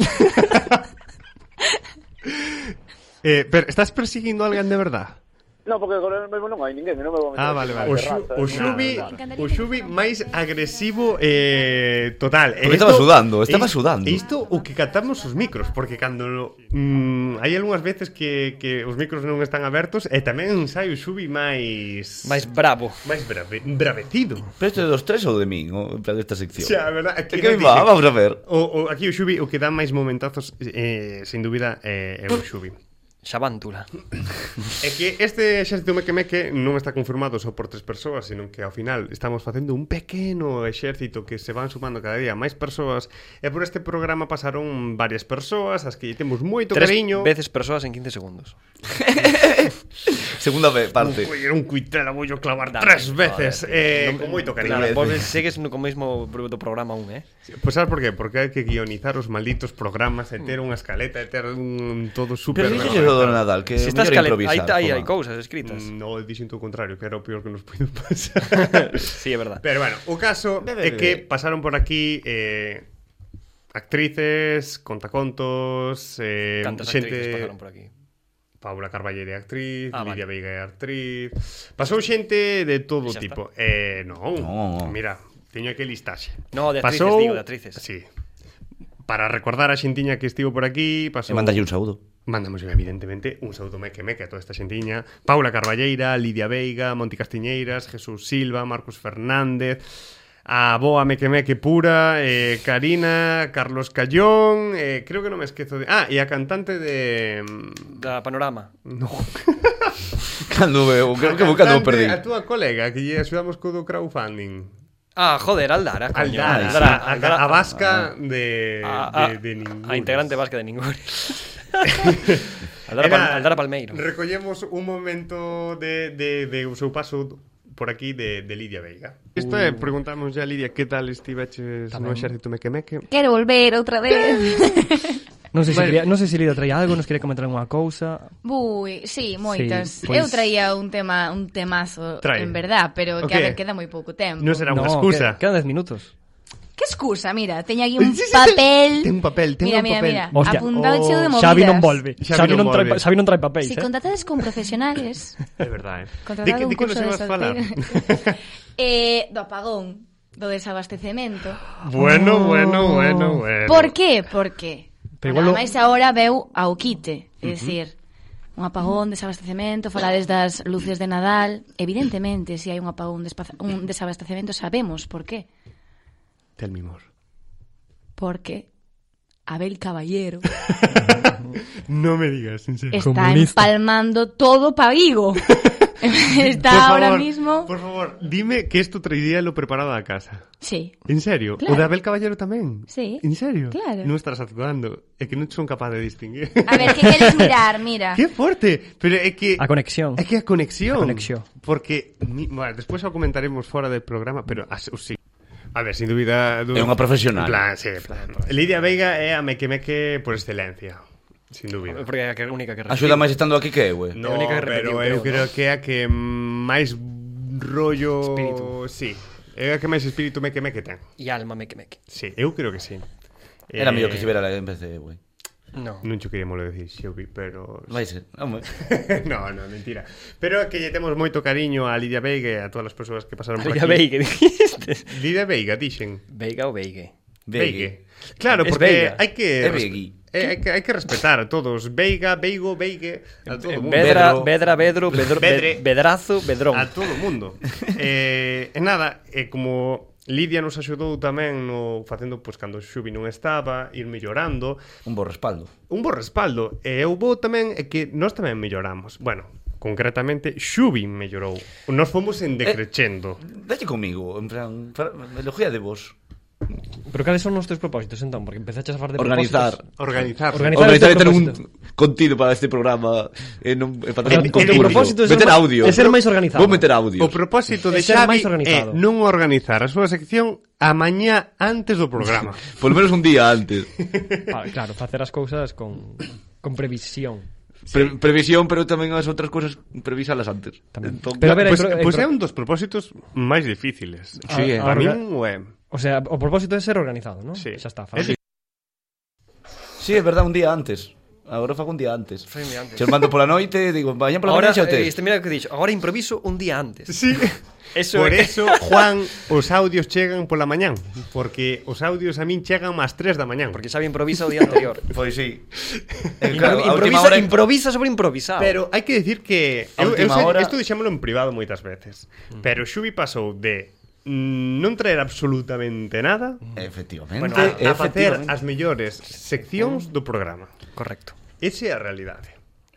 [SPEAKER 1] eh, pero estás persiguiendo a alguén de verdad?
[SPEAKER 4] No, porque con el mesmo non hai ninguén, non me vou meter.
[SPEAKER 1] Ah, vale, vale. O, xu,
[SPEAKER 4] Terraza,
[SPEAKER 1] o
[SPEAKER 4] nada,
[SPEAKER 1] xubi,
[SPEAKER 4] nada.
[SPEAKER 1] o xubi máis agresivo eh, total. E
[SPEAKER 2] Porque
[SPEAKER 1] isto-
[SPEAKER 2] estaba sudando,
[SPEAKER 1] is-
[SPEAKER 2] estaba sudando.
[SPEAKER 1] Isto o que catamos os micros, porque cando mm, hai algunhas veces que, que os micros non están abertos e tamén sai o xubi máis
[SPEAKER 3] Máis bravo.
[SPEAKER 1] máis brave, bravecido.
[SPEAKER 2] Pero isto é dos tres ou de min, o, en plan esta sección.
[SPEAKER 1] Xa, a verdad,
[SPEAKER 2] É
[SPEAKER 1] aquí
[SPEAKER 2] que
[SPEAKER 1] non
[SPEAKER 2] va,
[SPEAKER 1] dixen.
[SPEAKER 2] vamos a ver.
[SPEAKER 1] O, o, aquí o Xubi o que dá máis momentazos eh, sin dúbida eh, é o Xubi.
[SPEAKER 3] Xavántula.
[SPEAKER 1] É que este exército meque-meque non está conformado só por tres persoas, senón que ao final estamos facendo un pequeno exército que se van sumando cada día máis persoas e por este programa pasaron varias persoas as que lle temos moito
[SPEAKER 3] Tres
[SPEAKER 1] cariño.
[SPEAKER 3] veces persoas en 15 segundos.
[SPEAKER 2] Segunda ve- parte.
[SPEAKER 1] Ui, era un cuitela, vou clavar
[SPEAKER 3] Dame,
[SPEAKER 1] tres veces eh,
[SPEAKER 3] joder,
[SPEAKER 1] con moito cariño.
[SPEAKER 3] Claro,
[SPEAKER 2] Tres
[SPEAKER 3] vos
[SPEAKER 2] veces.
[SPEAKER 3] segues no co mesmo pro- do programa un, eh?
[SPEAKER 1] Pois sabes por qué? Porque hai que guionizar os malditos programas e ter unha escaleta e ter un todo super
[SPEAKER 2] Pero iso é o do Nadal, que
[SPEAKER 3] Si
[SPEAKER 2] é
[SPEAKER 3] estás
[SPEAKER 2] mellor
[SPEAKER 3] calen- aí,
[SPEAKER 2] improvisar.
[SPEAKER 3] aí
[SPEAKER 2] toma.
[SPEAKER 3] hai cousas escritas. Mm.
[SPEAKER 1] No, dixen o contrario, que era o peor que nos puido
[SPEAKER 3] *laughs*
[SPEAKER 1] pasar.
[SPEAKER 3] sí, é verdad.
[SPEAKER 1] Pero bueno, o caso
[SPEAKER 2] Bebe,
[SPEAKER 1] é que
[SPEAKER 2] bebe.
[SPEAKER 1] pasaron por aquí eh, actrices, contacontos, eh,
[SPEAKER 3] Cantas actrices
[SPEAKER 1] xente...
[SPEAKER 3] pasaron por aquí.
[SPEAKER 1] Paula Carballeri é actriz,
[SPEAKER 3] Ah,
[SPEAKER 1] Lidia Veiga é actriz... Pasou xente de todo
[SPEAKER 3] Xa
[SPEAKER 1] tipo. Eh, non,
[SPEAKER 2] No.
[SPEAKER 1] mira, teño que listaxe.
[SPEAKER 3] No, de actrices,
[SPEAKER 1] pasou...
[SPEAKER 3] digo, de actrices.
[SPEAKER 1] Sí. Para recordar a xentiña que estivo por aquí,
[SPEAKER 2] E
[SPEAKER 1] pasou...
[SPEAKER 2] mandalle un saúdo.
[SPEAKER 1] Mandamos, evidentemente, un saúdo meque meque a toda esta xentiña. Paula Carballeira, Lidia Veiga, Monti Castiñeiras, Jesús Silva, Marcos Fernández, a boa meque meque pura, eh, Karina, Carlos Callón, eh, creo que non me esquezo de... Ah, e a cantante de... mm,
[SPEAKER 3] Da panorama.
[SPEAKER 1] No.
[SPEAKER 2] Cando veo, creo
[SPEAKER 1] A
[SPEAKER 2] que vou cando o
[SPEAKER 1] cantante-
[SPEAKER 2] perdí.
[SPEAKER 1] A túa colega, que lle axudamos co do crowdfunding.
[SPEAKER 3] Ah, joder, Aldara, coño.
[SPEAKER 1] Aldara,
[SPEAKER 3] Aldara,
[SPEAKER 1] a,
[SPEAKER 3] Aldara-
[SPEAKER 1] a
[SPEAKER 3] Ah,
[SPEAKER 1] vasca de,
[SPEAKER 3] a-
[SPEAKER 1] de,
[SPEAKER 3] a-
[SPEAKER 1] de ningún.
[SPEAKER 3] A integrante vasca de
[SPEAKER 1] *laughs*
[SPEAKER 3] ningún.
[SPEAKER 1] Era-
[SPEAKER 3] Aldara, Pal- Aldara Palmeiro.
[SPEAKER 1] Recollemos un momento de, de, de o seu paso por aquí de, de Lidia Veiga. Isto é,
[SPEAKER 3] Uh.
[SPEAKER 1] preguntamos ya Lidia, que tal estiveches no exército mequemeque?
[SPEAKER 6] Quero volver outra *laughs* vez.
[SPEAKER 5] Non sei se, quería, non sei se Lidia traía algo, nos quería comentar unha cousa.
[SPEAKER 6] Bui, sí,
[SPEAKER 5] Sí,
[SPEAKER 6] moitas. Sí,
[SPEAKER 5] pois-
[SPEAKER 6] pois... Eu traía un tema, un temazo,
[SPEAKER 1] Trae.
[SPEAKER 6] Trae. en verdad, pero que
[SPEAKER 1] O
[SPEAKER 6] a
[SPEAKER 1] qué?
[SPEAKER 6] ver, queda moi pouco tempo.
[SPEAKER 1] Non será unha
[SPEAKER 5] No,
[SPEAKER 1] excusa.
[SPEAKER 5] Que, quedan 10 minutos.
[SPEAKER 6] Que excusa, mira, teña aquí un
[SPEAKER 1] Sí, sí, sí.
[SPEAKER 6] papel.
[SPEAKER 1] Ten un papel, ten
[SPEAKER 6] mira,
[SPEAKER 1] un
[SPEAKER 6] mira,
[SPEAKER 1] papel.
[SPEAKER 6] Mira,
[SPEAKER 5] Hostia,
[SPEAKER 6] apuntado
[SPEAKER 5] oh,
[SPEAKER 6] cheo de movidas.
[SPEAKER 5] Xavi non volve.
[SPEAKER 1] Xavi
[SPEAKER 5] Xavi, non
[SPEAKER 1] non
[SPEAKER 5] trae,
[SPEAKER 1] volve.
[SPEAKER 5] Xavi non trae papéis,
[SPEAKER 6] Si
[SPEAKER 5] eh?
[SPEAKER 6] contratades con profesionales,
[SPEAKER 1] É
[SPEAKER 3] *laughs*
[SPEAKER 1] verdade, eh.
[SPEAKER 6] contratado un curso de
[SPEAKER 1] vas falar?
[SPEAKER 6] solteiro. *laughs* eh, do apagón, do desabastecemento.
[SPEAKER 1] bueno, bueno, bueno, bueno.
[SPEAKER 6] Oh. Por qué? Por qué?
[SPEAKER 5] Pero igual
[SPEAKER 6] Pero igual
[SPEAKER 5] lo-
[SPEAKER 6] máis agora veu ao quite, é dicir, un apagón, desabastecemento, falades das luces de Nadal, evidentemente, se hai un apagón, un despaza- un desabastecemento, sabemos por qué.
[SPEAKER 1] Telme mor.
[SPEAKER 6] Porque Abel Caballero
[SPEAKER 1] No me digas, en serio.
[SPEAKER 6] está
[SPEAKER 5] Comunista.
[SPEAKER 6] empalmando todo pavigo. *laughs* está
[SPEAKER 1] Por favor,
[SPEAKER 6] ahora mismo...
[SPEAKER 1] Por favor, dime que esto traería lo preparado a casa.
[SPEAKER 6] Sí.
[SPEAKER 1] En serio?
[SPEAKER 6] Claro.
[SPEAKER 1] O de Abel Caballero tamén?
[SPEAKER 6] Sí.
[SPEAKER 1] En serio?
[SPEAKER 6] Claro.
[SPEAKER 1] Non estás actuando. É que non son capaz de distinguir.
[SPEAKER 6] A ver, que queres mirar, mira.
[SPEAKER 1] Qué fuerte, pero é que
[SPEAKER 5] A conexión.
[SPEAKER 1] É que a conexión.
[SPEAKER 5] A conexión.
[SPEAKER 1] Porque ni, bueno, despois o comentaremos fora del programa, pero as, o sí. A ver, sin dúbida
[SPEAKER 2] É unha profesional.
[SPEAKER 1] En plan, sí, en plan. Lidia Veiga é a mequemeque por excelencia, sin dúbida.
[SPEAKER 3] Porque é a que- única que
[SPEAKER 2] Axuda máis estando aquí que eu, eh.
[SPEAKER 1] No,
[SPEAKER 3] a única que
[SPEAKER 1] pero
[SPEAKER 3] repetiu, creo,
[SPEAKER 1] eu
[SPEAKER 3] ¿no?
[SPEAKER 1] creo que é a que máis rollo,
[SPEAKER 3] Espírito.
[SPEAKER 1] sí. É a que máis espírito mequemeque ten.
[SPEAKER 3] E alma meque meque.
[SPEAKER 1] Sí, eu creo que sí. Eh,
[SPEAKER 2] Era mellor que se vera en vez de eu, eh.
[SPEAKER 3] No.
[SPEAKER 1] Non cho queríamos decir, Xeubi, pero
[SPEAKER 2] Vai ser. Home.
[SPEAKER 1] *laughs* no, no, mentira. Pero é que lle temos moito cariño a Lidia Veiga e a todas as persoas que pasaron por
[SPEAKER 3] Lidia
[SPEAKER 1] aquí.
[SPEAKER 3] Veiga, dijiste.
[SPEAKER 1] Lidia Veiga, dixen.
[SPEAKER 3] Veiga ou Veigue.
[SPEAKER 1] Veigue. Claro,
[SPEAKER 3] Es
[SPEAKER 1] porque
[SPEAKER 3] Veiga.
[SPEAKER 1] hai que...
[SPEAKER 2] É Veigui.
[SPEAKER 1] eh, hai, que, hai que respetar a todos. Veiga, Veigo, Veigue... A todo mundo.
[SPEAKER 3] Vedra,
[SPEAKER 2] Vedro.
[SPEAKER 3] Vedra, Vedro, Vedro,
[SPEAKER 1] Vedre.
[SPEAKER 3] *laughs* Vedrazo, Vedrón.
[SPEAKER 1] A todo mundo. eh, e nada, eh, como Lidia nos axudou tamén no facendo pois cando Xubi non estaba, ir mellorando,
[SPEAKER 2] Un bo respaldo.
[SPEAKER 1] un bo respaldo. E eu vou tamén é que nós tamén melloramos. Bueno, concretamente Xubi mellorou. Nós fomos
[SPEAKER 3] Eh,
[SPEAKER 1] en decrecendo.
[SPEAKER 2] Dalle comigo, en plan, fra- elogia de vos.
[SPEAKER 5] Pero cales son os teus propósitos, entón? Porque empezaches a falar de
[SPEAKER 2] Organizar.
[SPEAKER 5] propósitos.
[SPEAKER 1] Organizar.
[SPEAKER 5] Organizar.
[SPEAKER 2] Organizar
[SPEAKER 5] este
[SPEAKER 2] e ter un
[SPEAKER 5] propósito.
[SPEAKER 2] contido para este programa e non e facer
[SPEAKER 5] O
[SPEAKER 2] un
[SPEAKER 5] teu propósito é
[SPEAKER 2] contido.
[SPEAKER 5] ser
[SPEAKER 2] Meter
[SPEAKER 5] ma-
[SPEAKER 2] audio.
[SPEAKER 5] é ser máis organizado.
[SPEAKER 2] Vou meter audio.
[SPEAKER 1] O propósito de
[SPEAKER 5] É ser
[SPEAKER 1] Xavi
[SPEAKER 5] máis
[SPEAKER 1] é
[SPEAKER 5] organizado.
[SPEAKER 1] non organizar a súa sección a mañá antes do programa.
[SPEAKER 2] Por menos un día
[SPEAKER 5] *laughs*
[SPEAKER 2] antes.
[SPEAKER 5] Pa- Ah, Claro, facer as cousas con, con previsión.
[SPEAKER 2] Pre previsión, pero tamén as outras cousas previsalas antes.
[SPEAKER 5] Tamén.
[SPEAKER 2] Entón,
[SPEAKER 5] *laughs* Pero a ver,
[SPEAKER 1] Pois
[SPEAKER 5] hai pro- hai
[SPEAKER 1] pues, pues
[SPEAKER 5] pro-
[SPEAKER 1] é un dos propósitos máis difíciles.
[SPEAKER 2] Sí, eh.
[SPEAKER 1] Para
[SPEAKER 5] a-
[SPEAKER 1] min, ué,
[SPEAKER 5] Ah, O sea, o propósito é ser organizado, ¿no?
[SPEAKER 1] sí.
[SPEAKER 5] Xa está,
[SPEAKER 1] É
[SPEAKER 5] Fran.
[SPEAKER 2] Sí, é verdad, un día antes. Agora fago un día antes.
[SPEAKER 3] Foi un día antes.
[SPEAKER 2] Se os mando pola noite, digo, mañá pola
[SPEAKER 3] Ahora,
[SPEAKER 2] mañá xa o
[SPEAKER 3] eh,
[SPEAKER 2] tes.
[SPEAKER 3] este, mira o que he dicho, ahora improviso un día antes.
[SPEAKER 1] Sí.
[SPEAKER 3] Eso
[SPEAKER 1] Por
[SPEAKER 3] é-
[SPEAKER 1] *laughs* eso, Juan, os audios chegan pola mañán, porque os audios a min chegan más 3 da mañán.
[SPEAKER 3] Porque Xavi improvisa o
[SPEAKER 1] *laughs*
[SPEAKER 3] día anterior.
[SPEAKER 2] Pois Pues sí.
[SPEAKER 3] Impro- improvisa, improvisa sobre improvisar.
[SPEAKER 1] Pero hai que decir que
[SPEAKER 2] A
[SPEAKER 1] eu, eu
[SPEAKER 2] última
[SPEAKER 1] sei,
[SPEAKER 2] hora-
[SPEAKER 1] isto dixémolo en privado moitas veces, pero Xubi pasou de mm, non traer absolutamente nada
[SPEAKER 2] Efectivamente.
[SPEAKER 3] Bueno,
[SPEAKER 1] a, a facer
[SPEAKER 2] efectivamente.
[SPEAKER 1] as mellores seccións do programa.
[SPEAKER 3] Correcto.
[SPEAKER 1] Esa é a realidade.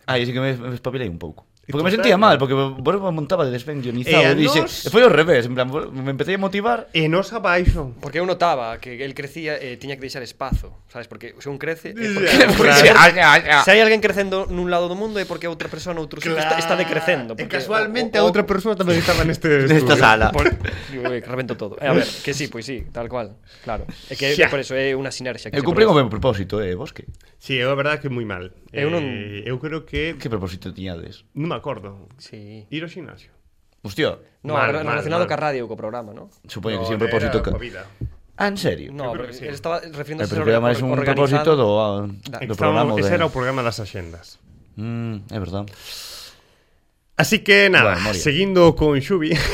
[SPEAKER 2] Aí sí que me, me espabilei un pouco. Porque
[SPEAKER 1] Total.
[SPEAKER 2] me sentía mal, porque vos me montaba de despen guionizado.
[SPEAKER 1] E
[SPEAKER 3] Eh,
[SPEAKER 1] a
[SPEAKER 2] E dixe,
[SPEAKER 1] nós-
[SPEAKER 2] e foi ao revés, en plan, vos- me empecé a motivar.
[SPEAKER 1] E nos abaixo.
[SPEAKER 3] Porque eu notaba que el crecía e eh, tiña que deixar espazo, sabes? Porque se un crece... É porque,
[SPEAKER 1] Ya,
[SPEAKER 3] porque
[SPEAKER 1] claro.
[SPEAKER 3] se,
[SPEAKER 2] Ah,
[SPEAKER 1] *laughs*
[SPEAKER 2] ah, ah.
[SPEAKER 3] se hai alguén crecendo nun lado do mundo é porque outra persona, outro sitio, está, está decrecendo.
[SPEAKER 1] E
[SPEAKER 3] Porque,
[SPEAKER 1] casualmente a outra persona tamén estaba neste
[SPEAKER 2] *laughs* Nesta
[SPEAKER 1] estudio.
[SPEAKER 2] sala.
[SPEAKER 3] Por, digo, eh, que revento todo. Eh, a ver, que sí, pois sí, tal cual. Claro. É que
[SPEAKER 1] Xa.
[SPEAKER 3] por eso é unha sinerxia. que se
[SPEAKER 2] Eu cumprín o
[SPEAKER 3] produce.
[SPEAKER 2] meu propósito, eh, vos que?
[SPEAKER 1] Sí, é verdade que moi mal.
[SPEAKER 3] Eu non-
[SPEAKER 1] Eh, eu creo que
[SPEAKER 2] Que propósito tiñades?
[SPEAKER 1] non me acordo.
[SPEAKER 3] Sí.
[SPEAKER 1] Ir ao gimnasio.
[SPEAKER 2] Hostia,
[SPEAKER 3] No,
[SPEAKER 1] Mal,
[SPEAKER 3] re-
[SPEAKER 1] mal,
[SPEAKER 3] relacionado
[SPEAKER 1] mal.
[SPEAKER 3] ca radio e co programa, ¿no?
[SPEAKER 2] supoño Pois
[SPEAKER 1] No, eh,
[SPEAKER 2] que sí, un
[SPEAKER 1] era
[SPEAKER 2] propósito
[SPEAKER 1] coa
[SPEAKER 2] que...
[SPEAKER 1] vida.
[SPEAKER 2] Ah, en serio?
[SPEAKER 3] No,
[SPEAKER 1] creo
[SPEAKER 3] pero
[SPEAKER 1] que sí.
[SPEAKER 3] él estaba
[SPEAKER 2] Eh,
[SPEAKER 3] refiriéndose
[SPEAKER 2] pero que
[SPEAKER 3] or-
[SPEAKER 2] máis un
[SPEAKER 3] organizado.
[SPEAKER 2] propósito do, ah,
[SPEAKER 1] É que
[SPEAKER 2] do
[SPEAKER 1] estábamos-
[SPEAKER 2] programa.
[SPEAKER 1] ese
[SPEAKER 2] de-
[SPEAKER 1] era o programa das axendas.
[SPEAKER 2] Mm, é verdad.
[SPEAKER 1] Así que nada,
[SPEAKER 2] Bueno,
[SPEAKER 1] bueno,
[SPEAKER 2] Mario.
[SPEAKER 1] seguindo con Xubi, *laughs*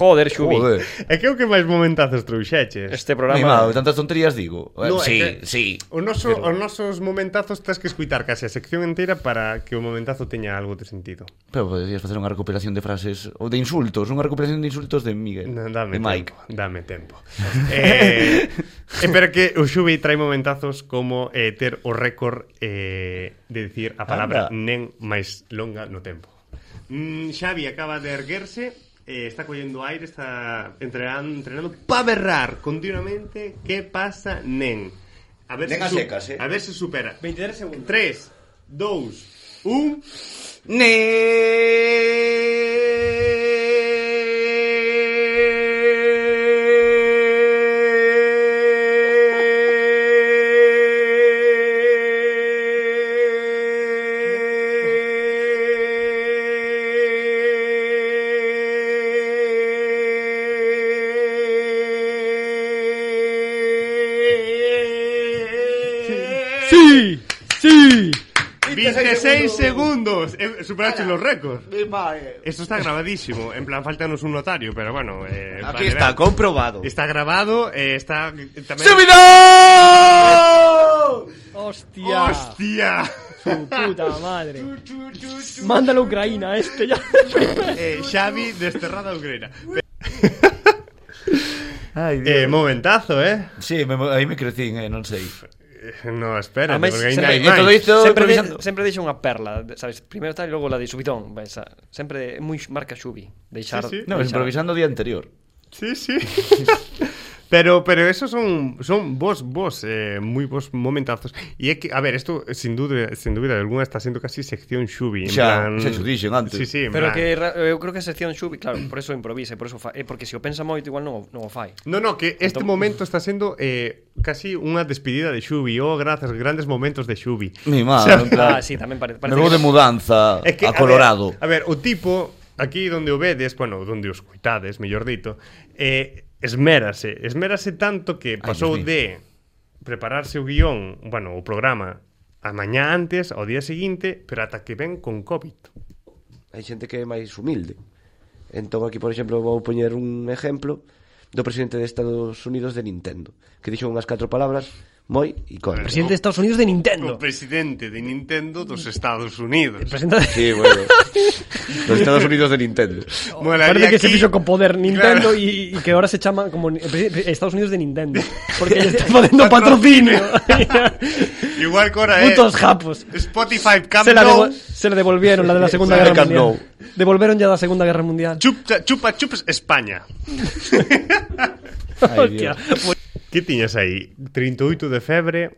[SPEAKER 3] Joder, Xubi.
[SPEAKER 2] Joder.
[SPEAKER 1] é que é o que máis momentazos trouxeches.
[SPEAKER 3] Este
[SPEAKER 2] Mimado,
[SPEAKER 3] programa...
[SPEAKER 2] tantas tonterías digo. Eh,
[SPEAKER 1] No, é
[SPEAKER 2] sí,
[SPEAKER 1] que-
[SPEAKER 2] sí.
[SPEAKER 1] O noso, os nosos momentazos tens que escuitar case a sección entera para que o momentazo teña algo de sentido.
[SPEAKER 2] Pero poderías facer unha recopilación de frases ou de insultos, unha recopilación de insultos de Miguel,
[SPEAKER 1] No,
[SPEAKER 2] de
[SPEAKER 1] Dame
[SPEAKER 2] Mike.
[SPEAKER 1] tempo, dame tempo. *laughs* eh, eh, pero que o Xubi trae momentazos como eh, ter o récord eh, de dicir a palabra
[SPEAKER 2] Anda.
[SPEAKER 1] nen máis longa no tempo. Mm, Xavi acaba de erguerse, eh, está collendo aire, está entrenando, entrenando pa berrar continuamente que pasa nen. A ver
[SPEAKER 2] Nen a
[SPEAKER 1] su-
[SPEAKER 2] secas, eh.
[SPEAKER 1] A ver se supera. 23 segundos. 3, 2, 1...
[SPEAKER 5] Sí, sí.
[SPEAKER 1] 26 segundos. Eh, superaste los récords. Esto está grabadísimo. En plan, faltanos un notario, pero bueno. eh, vale, vale.
[SPEAKER 2] comprobado.
[SPEAKER 1] Está grabado, eh, está eh, también...
[SPEAKER 2] ¡Súbito!
[SPEAKER 5] Hostia.
[SPEAKER 1] ¡Hostia!
[SPEAKER 5] Su puta madre. Mándalo a Ucrania este ya.
[SPEAKER 1] *laughs* Eh, Xavi, desterrada a Ucrania.
[SPEAKER 2] Ay,
[SPEAKER 1] Eh, momentazo, eh.
[SPEAKER 2] Sí, me, aí me crecín, eh, non sei.
[SPEAKER 1] Eh, No, espera,
[SPEAKER 3] Ademais,
[SPEAKER 1] porque ainda
[SPEAKER 3] sempre-
[SPEAKER 1] hai
[SPEAKER 2] E todo
[SPEAKER 1] máis.
[SPEAKER 2] isto
[SPEAKER 3] Sempre, de,
[SPEAKER 2] improvisando.
[SPEAKER 3] sempre deixa unha perla, de- sabes? Primeiro tal e logo la de subidón. Ves, a- sempre é moi marca Xubi. Deixar...
[SPEAKER 1] Sí, sí.
[SPEAKER 2] No,
[SPEAKER 3] deixar-
[SPEAKER 2] improvisando o día anterior.
[SPEAKER 1] Sí, sí. *laughs* Pero, pero esos son, son vos, vos, eh, muy vos momentazos. Y es que, a ver, esto eh, sin duda, sin duda alguna está siendo casi sección Shubi. en
[SPEAKER 2] Xa,
[SPEAKER 1] plan-
[SPEAKER 2] xa xo dixen antes.
[SPEAKER 1] Sí, sí, en
[SPEAKER 3] Pero
[SPEAKER 1] plan-
[SPEAKER 3] que ra- eu creo que a sección Xubi, claro, por eso improvisa, e por eso fa, é porque se o pensa moito igual non, o- non o fai.
[SPEAKER 1] No, no, que este momento está sendo eh, casi unha despedida de Xubi. Oh, grazas, grandes momentos de Xubi.
[SPEAKER 2] Mi
[SPEAKER 1] O sea,
[SPEAKER 2] madre, en plan,
[SPEAKER 3] Ah, sí, tamén pare-
[SPEAKER 2] me
[SPEAKER 3] parece
[SPEAKER 2] vou
[SPEAKER 3] que-
[SPEAKER 2] de mudanza
[SPEAKER 1] É que,
[SPEAKER 2] a Colorado.
[SPEAKER 1] ver, A ver, o tipo, aquí donde o vedes, bueno, donde os coitades, mellor dito, eh, esmérase, esmérase tanto que pasou
[SPEAKER 2] Dios mío.
[SPEAKER 1] de prepararse o guión, bueno, o programa, a mañá antes, ao día seguinte, pero ata que ven con COVID.
[SPEAKER 7] hai xente que é máis humilde. Entón aquí, por exemplo, vou poñer un exemplo do presidente de Estados Unidos de Nintendo, que dixo unhas catro palabras moi icónico.
[SPEAKER 1] Pero
[SPEAKER 3] Presidente de Estados Unidos de
[SPEAKER 1] O
[SPEAKER 3] Nintendo.
[SPEAKER 1] presidente de Nintendo dos Estados Unidos. *laughs*
[SPEAKER 3] Presidente de...
[SPEAKER 7] Sí, bueno. Los Estados Unidos de Nintendo.
[SPEAKER 1] Molaría
[SPEAKER 3] Parece que se
[SPEAKER 1] aquí-
[SPEAKER 3] puso con poder
[SPEAKER 1] Claro.
[SPEAKER 3] Nintendo y, y que ahora se llama como ni- presi- Estados Unidos de Nintendo. Porque le está poniendo patrocinio.
[SPEAKER 1] *laughs* Igual que ahora
[SPEAKER 3] Putos
[SPEAKER 1] es
[SPEAKER 3] japos.
[SPEAKER 1] Spotify Camp
[SPEAKER 3] *laughs* Se la,
[SPEAKER 1] Nou,
[SPEAKER 3] devo- se la devolvieron, la de la Segunda
[SPEAKER 7] Se la
[SPEAKER 3] Guerra
[SPEAKER 7] Camp Nou.
[SPEAKER 3] Mundial. Devolvieron ya la Segunda Guerra Mundial.
[SPEAKER 1] chupa, chupa chups España.
[SPEAKER 3] Hostia.
[SPEAKER 1] Que tiñas aí? 38 de febre,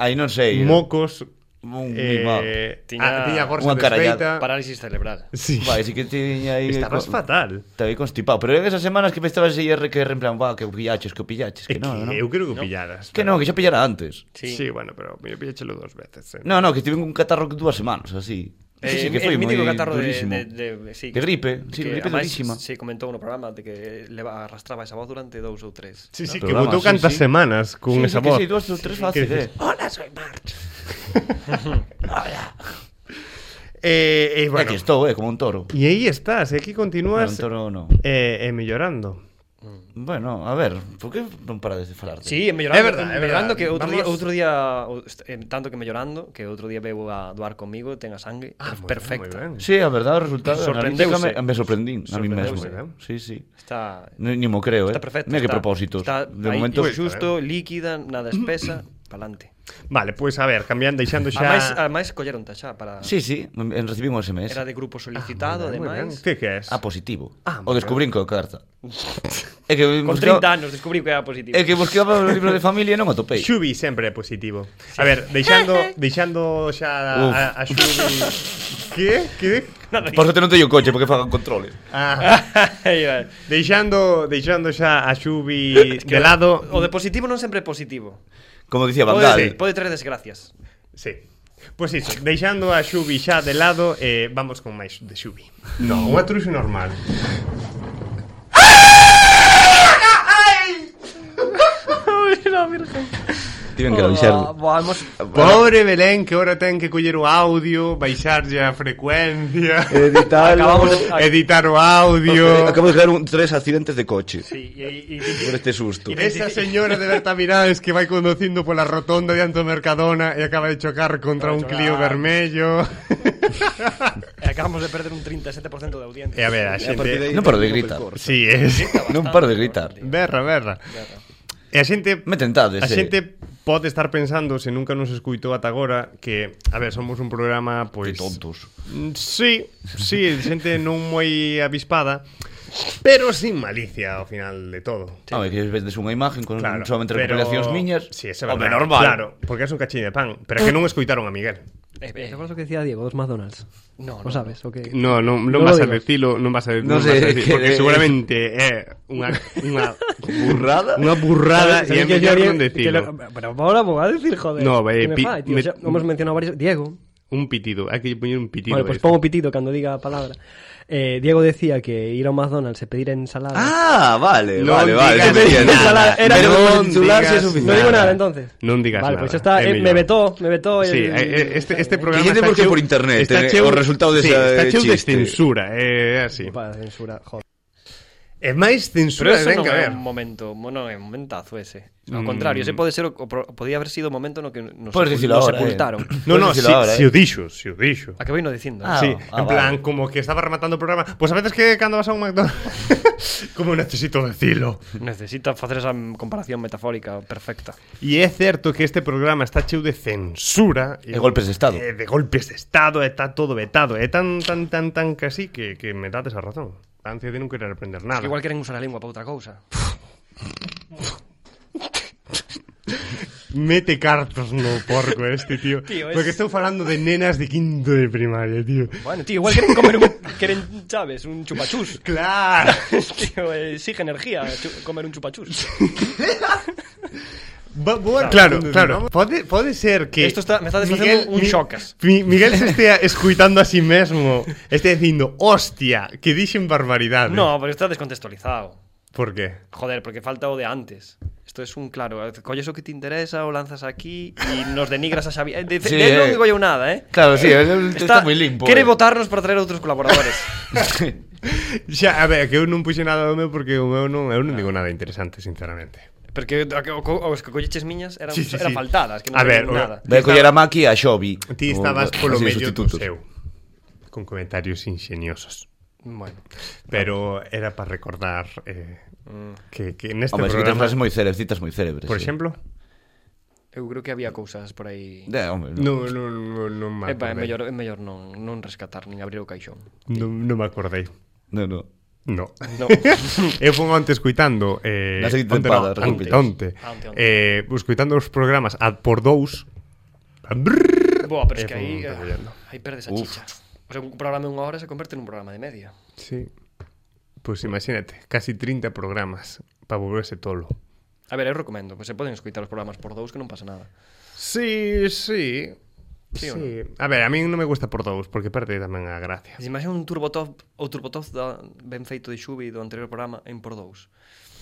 [SPEAKER 2] Aí non sei.
[SPEAKER 1] mocos,
[SPEAKER 2] Un eh...
[SPEAKER 1] eh,
[SPEAKER 3] Tiña-
[SPEAKER 1] ah, tiña gorsa
[SPEAKER 2] Unha carallada.
[SPEAKER 1] desfeita.
[SPEAKER 3] Parálisis cerebral.
[SPEAKER 1] Sí.
[SPEAKER 2] Vai, si que tiña aí...
[SPEAKER 1] Estabas
[SPEAKER 2] co-
[SPEAKER 1] fatal.
[SPEAKER 2] Estaba aí constipado. Pero eran esas semanas que pensabas aí erre que erre en plan, va, que o pillaches, que o pillaches,
[SPEAKER 1] É
[SPEAKER 2] que non, non.
[SPEAKER 1] que eu creo que o pillaras.
[SPEAKER 2] Que non, que xa pillara antes.
[SPEAKER 1] Sí.
[SPEAKER 3] Eh,
[SPEAKER 1] sí, bueno, pero me pilláchelo dos veces. Eh.
[SPEAKER 2] No, no, que tive un catarro dúas semanas, así. Sí, sí, que
[SPEAKER 3] Eh, el
[SPEAKER 2] foi moi
[SPEAKER 3] mítico catarro de,
[SPEAKER 2] durísimo.
[SPEAKER 3] de- de- sí,
[SPEAKER 2] De gripe, sí, gripe
[SPEAKER 3] además
[SPEAKER 2] durísima.
[SPEAKER 3] Se comentou no programa de que le arrastraba esa voz durante dous ou tres.
[SPEAKER 1] Sí,
[SPEAKER 3] ¿no?
[SPEAKER 1] sí, que
[SPEAKER 2] Programa,
[SPEAKER 1] botou
[SPEAKER 2] sí,
[SPEAKER 1] cantas
[SPEAKER 2] sí.
[SPEAKER 1] semanas con
[SPEAKER 2] sí,
[SPEAKER 1] esa
[SPEAKER 2] sí, que
[SPEAKER 1] voz.
[SPEAKER 2] Sí, dúas ou tres
[SPEAKER 1] que
[SPEAKER 2] fácil,
[SPEAKER 1] dices, "Ah,
[SPEAKER 2] eh.
[SPEAKER 1] Eh, eh,
[SPEAKER 2] Bueno.
[SPEAKER 1] bueno,
[SPEAKER 2] Aquí estou, eh, como un toro.
[SPEAKER 1] e aí estás, e aquí
[SPEAKER 2] Bueno,
[SPEAKER 1] continúas
[SPEAKER 2] un toro non.
[SPEAKER 1] eh, eh, mellorando.
[SPEAKER 2] Bueno, a ver, por que non parades de falarte?
[SPEAKER 3] Sí, en Mellorando,
[SPEAKER 1] É verdad,
[SPEAKER 3] en
[SPEAKER 1] é
[SPEAKER 3] Mellorando
[SPEAKER 1] verdad.
[SPEAKER 3] que outro día,
[SPEAKER 1] Vamos-
[SPEAKER 3] outro día o- est- em, tanto que Mellorando, que outro día veu a Duar comigo, ten a sangue
[SPEAKER 1] Ah, moi
[SPEAKER 3] per-
[SPEAKER 1] ben,
[SPEAKER 3] perfecta.
[SPEAKER 1] moi ben.
[SPEAKER 2] Sí, a verdade, o resultado
[SPEAKER 3] Sorprendeuse.
[SPEAKER 2] analítica me, me sorprendín a mí mesmo.
[SPEAKER 3] Sorprendeuse.
[SPEAKER 2] Sí, sí.
[SPEAKER 3] Está
[SPEAKER 2] Ni, ni mo creo, eh.
[SPEAKER 3] está perfecto.
[SPEAKER 2] Mira que
[SPEAKER 3] está-
[SPEAKER 2] propósitos.
[SPEAKER 3] Está
[SPEAKER 2] de
[SPEAKER 3] aí
[SPEAKER 2] momento,
[SPEAKER 1] Pois,
[SPEAKER 3] xusto, líquida,
[SPEAKER 2] *clears throat*
[SPEAKER 3] nada espesa, pa'lante.
[SPEAKER 1] Vale, pois pues, a ver, cambiando, deixando xa...
[SPEAKER 3] Ademais, ademais colleron xa para
[SPEAKER 2] sí, Ah, sí, en recibí un SMS.
[SPEAKER 3] era de grupo solicitado,
[SPEAKER 1] Moi ben.
[SPEAKER 3] ademais.
[SPEAKER 1] Que que es?
[SPEAKER 2] A positivo.
[SPEAKER 1] Ah,
[SPEAKER 2] o descubrín coa carta. é que
[SPEAKER 3] Con 30 anos descubriu que era positivo.
[SPEAKER 2] É que buscaba o libro de familia e non o
[SPEAKER 3] *laughs*
[SPEAKER 2] topei.
[SPEAKER 1] Xubi sempre é positivo. A ver, *laughs* deixando deixando xa
[SPEAKER 2] Uf.
[SPEAKER 1] a, a Xubi Que? Que?
[SPEAKER 2] Por suerte non teño coche porque fagan controles.
[SPEAKER 1] Ah,
[SPEAKER 7] *laughs*
[SPEAKER 3] Aí vai.
[SPEAKER 1] deixando deixando xa a
[SPEAKER 7] *laughs*
[SPEAKER 1] Xubi de lado.
[SPEAKER 3] O
[SPEAKER 7] Oh.
[SPEAKER 3] de positivo non sempre é positivo.
[SPEAKER 2] Como dicía
[SPEAKER 3] Pode,
[SPEAKER 2] Vandal.
[SPEAKER 3] pode traer
[SPEAKER 5] *laughs*
[SPEAKER 3] desgracias.
[SPEAKER 1] Sí. Pois iso, deixando a Xubi xa de lado, eh, vamos con máis de Xubi. No, unha truxo normal.
[SPEAKER 7] Tiven que avisar.
[SPEAKER 3] Vamos.
[SPEAKER 1] Pobre Belén que ora ten que coller o audio, baixarlle a frecuencia,
[SPEAKER 7] Editarlo.
[SPEAKER 3] Acabamos de-
[SPEAKER 1] editar o audio.
[SPEAKER 7] Acabo de caer un tres accidentes de coche
[SPEAKER 3] Sí, e, e,
[SPEAKER 7] por este susto.
[SPEAKER 1] Esa señora de Bertamiráns que vai conducindo pola rotonda diante do Mercadona e acaba de chocar contra un Clio vermello.
[SPEAKER 3] e acabamos de perder un 37%
[SPEAKER 1] E
[SPEAKER 3] de audiencia.
[SPEAKER 1] a ver, a
[SPEAKER 7] A partir
[SPEAKER 1] xente...
[SPEAKER 7] de aí,
[SPEAKER 2] Non paro de
[SPEAKER 7] tengo
[SPEAKER 2] gritar.
[SPEAKER 7] pelcor.
[SPEAKER 1] Sí, es...
[SPEAKER 2] Non paro de gritar.
[SPEAKER 1] Berra, berra. E a xente...
[SPEAKER 2] Me tentades,
[SPEAKER 1] A
[SPEAKER 2] eh.
[SPEAKER 1] xente pode estar pensando, se nunca nos escuitou ata agora, que, a ver, somos un programa,
[SPEAKER 2] Que
[SPEAKER 1] pois...
[SPEAKER 2] tontos.
[SPEAKER 1] Mm, Sí, sí, xente non moi avispada, pero sin malicia ao final de todo.
[SPEAKER 2] Sí. Home, que vendes unha imagen con claro, solamente
[SPEAKER 1] pero-
[SPEAKER 2] recopilacións miñas.
[SPEAKER 1] Sí, ese é
[SPEAKER 2] Home,
[SPEAKER 1] verdade,
[SPEAKER 2] normal.
[SPEAKER 1] Claro, porque es un cachín de pan, pero é que non escoitaron a Miguel.
[SPEAKER 3] Eh, eh,
[SPEAKER 5] ¿Recuerdas lo que decía Diego? Dos McDonald's.
[SPEAKER 3] no,
[SPEAKER 5] ¿Lo sabes? ¿O qué?
[SPEAKER 1] No, non, non
[SPEAKER 5] Non
[SPEAKER 1] vas
[SPEAKER 5] lo
[SPEAKER 1] a
[SPEAKER 5] digas.
[SPEAKER 1] decilo, non vas a,
[SPEAKER 7] Non
[SPEAKER 1] non vas
[SPEAKER 7] sei
[SPEAKER 1] a decir,
[SPEAKER 7] que-
[SPEAKER 1] porque seguramente é unha, unha,
[SPEAKER 2] *laughs*
[SPEAKER 7] Burrada.
[SPEAKER 1] unha burrada e é
[SPEAKER 5] ¿Sabéis que
[SPEAKER 1] mellor
[SPEAKER 5] yo haría-
[SPEAKER 1] non
[SPEAKER 5] que
[SPEAKER 1] decilo.
[SPEAKER 5] lo- Pero ahora voy a decir, joder.
[SPEAKER 1] No, ve,
[SPEAKER 5] que me
[SPEAKER 1] pi-
[SPEAKER 5] fai, tío,
[SPEAKER 1] me-
[SPEAKER 5] ya hemos mencionado varios. Diego.
[SPEAKER 1] Un pitido, hai que poñer un pitido.
[SPEAKER 5] Vale, pues
[SPEAKER 1] extra.
[SPEAKER 5] pongo pitido cuando diga la palabra. Eh, Diego decía que ir a un McDonald's y pedir ensalada.
[SPEAKER 7] Ah, vale,
[SPEAKER 1] Non
[SPEAKER 7] vale, vale.
[SPEAKER 1] digas
[SPEAKER 7] se entiende.
[SPEAKER 5] nada, era-
[SPEAKER 7] Pero
[SPEAKER 5] non
[SPEAKER 7] con titular
[SPEAKER 1] digas
[SPEAKER 7] sí es suficiente.
[SPEAKER 5] No digo nada entonces.
[SPEAKER 1] Non digas
[SPEAKER 5] vale,
[SPEAKER 1] nada,
[SPEAKER 5] Pues ya está,
[SPEAKER 1] é
[SPEAKER 5] eh, me
[SPEAKER 1] mellor.
[SPEAKER 5] vetó, me vetó.
[SPEAKER 1] Sí,
[SPEAKER 5] el-
[SPEAKER 1] eh, eh, este, este programa
[SPEAKER 7] Guillete,
[SPEAKER 1] está
[SPEAKER 7] porque
[SPEAKER 1] cheu-
[SPEAKER 7] por internet,
[SPEAKER 1] está
[SPEAKER 7] eh,
[SPEAKER 1] cheu-
[SPEAKER 7] o resultado desa
[SPEAKER 1] sí, está cheu de
[SPEAKER 7] chiste.
[SPEAKER 1] censura, é eh, así.
[SPEAKER 5] Para censura, joder.
[SPEAKER 1] É máis
[SPEAKER 3] Pero
[SPEAKER 1] censura,
[SPEAKER 3] eso
[SPEAKER 1] ven
[SPEAKER 3] non
[SPEAKER 1] que a
[SPEAKER 3] é
[SPEAKER 1] ver.
[SPEAKER 3] un momento, mo- non é un momentazo ese. Ao contrario, ese pode ser o, o pro- podía haber sido o momento no que nos,
[SPEAKER 2] Podes
[SPEAKER 3] sepul-
[SPEAKER 2] dicilo
[SPEAKER 3] nos
[SPEAKER 2] ahora, eh.
[SPEAKER 3] sepultaron.
[SPEAKER 1] *clears throat* No, no,
[SPEAKER 2] Podes
[SPEAKER 1] si,
[SPEAKER 2] decirlo ahora,
[SPEAKER 1] si
[SPEAKER 2] eh.
[SPEAKER 1] o dixo, si o dixo.
[SPEAKER 3] Acabei no dicindo.
[SPEAKER 2] Ah,
[SPEAKER 1] Sí,
[SPEAKER 3] sí.
[SPEAKER 1] en
[SPEAKER 2] ah,
[SPEAKER 1] plan,
[SPEAKER 2] vale.
[SPEAKER 1] como que estaba rematando o programa Pois pues a veces que cando vas a un McDonald's *laughs* Como necesito decilo
[SPEAKER 3] Necesita facer esa mm, comparación metafórica perfecta.
[SPEAKER 1] E é certo que este programa está cheu de censura
[SPEAKER 2] E golpes de estado.
[SPEAKER 1] e De golpes de estado, e está todo vetado É tan, tan, tan, tan que así que, que me dades a razón A ansia de non querer aprender nada
[SPEAKER 3] Igual queren usar a lingua para outra cousa.
[SPEAKER 1] Mete cartos no porco este, tío,
[SPEAKER 3] *laughs* Tío, es-
[SPEAKER 1] Porque estou falando de nenas de quinto de primaria, tío
[SPEAKER 3] Bueno, tío, igual queren comer un queren, sabes, un chupachús.
[SPEAKER 1] Claro
[SPEAKER 3] Tío, exige energía chu- comer un chupachús.
[SPEAKER 1] claro, claro. Pode, pode ser que
[SPEAKER 3] Esto está- me está desfacendo un xocas.
[SPEAKER 1] Mi, Miguel se estea escuitando a sí mesmo Este dicindo, hostia, que dixen barbaridades
[SPEAKER 3] No, pero está descontextualizado.
[SPEAKER 1] Por qué?
[SPEAKER 3] Joder, porque falta o de antes. Esto es un claro, colles o que te interesa o lanzas aquí y nos denigras a Xavi. Eh, De,
[SPEAKER 2] Sí,
[SPEAKER 3] de él no
[SPEAKER 2] eh.
[SPEAKER 3] digo yo nada, ¿eh?
[SPEAKER 2] Claro, sí, está, está moi limpo.
[SPEAKER 3] Quiere
[SPEAKER 2] eh.
[SPEAKER 3] votarnos para traer outros colaboradores. *laughs*
[SPEAKER 1] Xa, a ver, que eu non puxe nada do meu Porque o meu non, eu non digo nada interesante, sinceramente
[SPEAKER 3] Porque a que- o co- os que colleches miñas eran,
[SPEAKER 1] Sí, sí,
[SPEAKER 3] eran
[SPEAKER 1] sí.
[SPEAKER 3] faltadas, que
[SPEAKER 1] A
[SPEAKER 3] non
[SPEAKER 1] ver,
[SPEAKER 3] teñen
[SPEAKER 1] o-
[SPEAKER 3] nada.
[SPEAKER 2] Vai coller a Maki e a Xobi.
[SPEAKER 1] Ti
[SPEAKER 2] como-
[SPEAKER 1] estabas polo
[SPEAKER 2] así de
[SPEAKER 1] medio do
[SPEAKER 2] sustitutos.
[SPEAKER 1] seu. Con comentarios ingeniosos.
[SPEAKER 3] Bueno.
[SPEAKER 1] Pero era para recordar eh, que, que neste
[SPEAKER 2] Hombre, programa... que ten
[SPEAKER 1] programa...
[SPEAKER 2] frases moi célebres, citas moi célebres.
[SPEAKER 1] Por
[SPEAKER 2] sí.
[SPEAKER 1] exemplo?
[SPEAKER 3] Eu creo que había cousas por aí.
[SPEAKER 2] De, hombre,
[SPEAKER 1] Non no, no, no me
[SPEAKER 3] É, é
[SPEAKER 1] acordei.
[SPEAKER 3] mellor, é mellor non, non rescatar nin abrir
[SPEAKER 1] *laughs*
[SPEAKER 3] o caixón.
[SPEAKER 1] Non no me acordei.
[SPEAKER 2] No, no.
[SPEAKER 1] No.
[SPEAKER 3] No.
[SPEAKER 1] *laughs* Eu fun onte escuitando eh,
[SPEAKER 2] Na seguinte
[SPEAKER 1] onte,
[SPEAKER 2] tempada,
[SPEAKER 1] no, onte,
[SPEAKER 2] resulta.
[SPEAKER 1] onte,
[SPEAKER 3] Ah, onte, onte.
[SPEAKER 1] Eh, escuitando os programas a por dous
[SPEAKER 3] Boa, pero
[SPEAKER 1] Eh,
[SPEAKER 3] es que aí,
[SPEAKER 1] fun
[SPEAKER 3] eh,
[SPEAKER 1] recollendo.
[SPEAKER 3] aí perdes a
[SPEAKER 2] Uf.
[SPEAKER 3] chicha. O sea, un programa de unha hora se converte nun programa de media.
[SPEAKER 1] Sí Pois pues imagínate, casi 30 programas para volverse tolo
[SPEAKER 3] A ver, eu recomendo, que se poden escoitar os programas por dous que non pasa nada.
[SPEAKER 1] Sí, sí
[SPEAKER 3] Sí
[SPEAKER 1] Sí,
[SPEAKER 3] ou
[SPEAKER 1] sí. A ver, a min non me gusta por dous Porque perde tamén a gracia
[SPEAKER 3] Se imagina un turbotop, o turbotop da, ben feito de Xubi do anterior programa en por dous.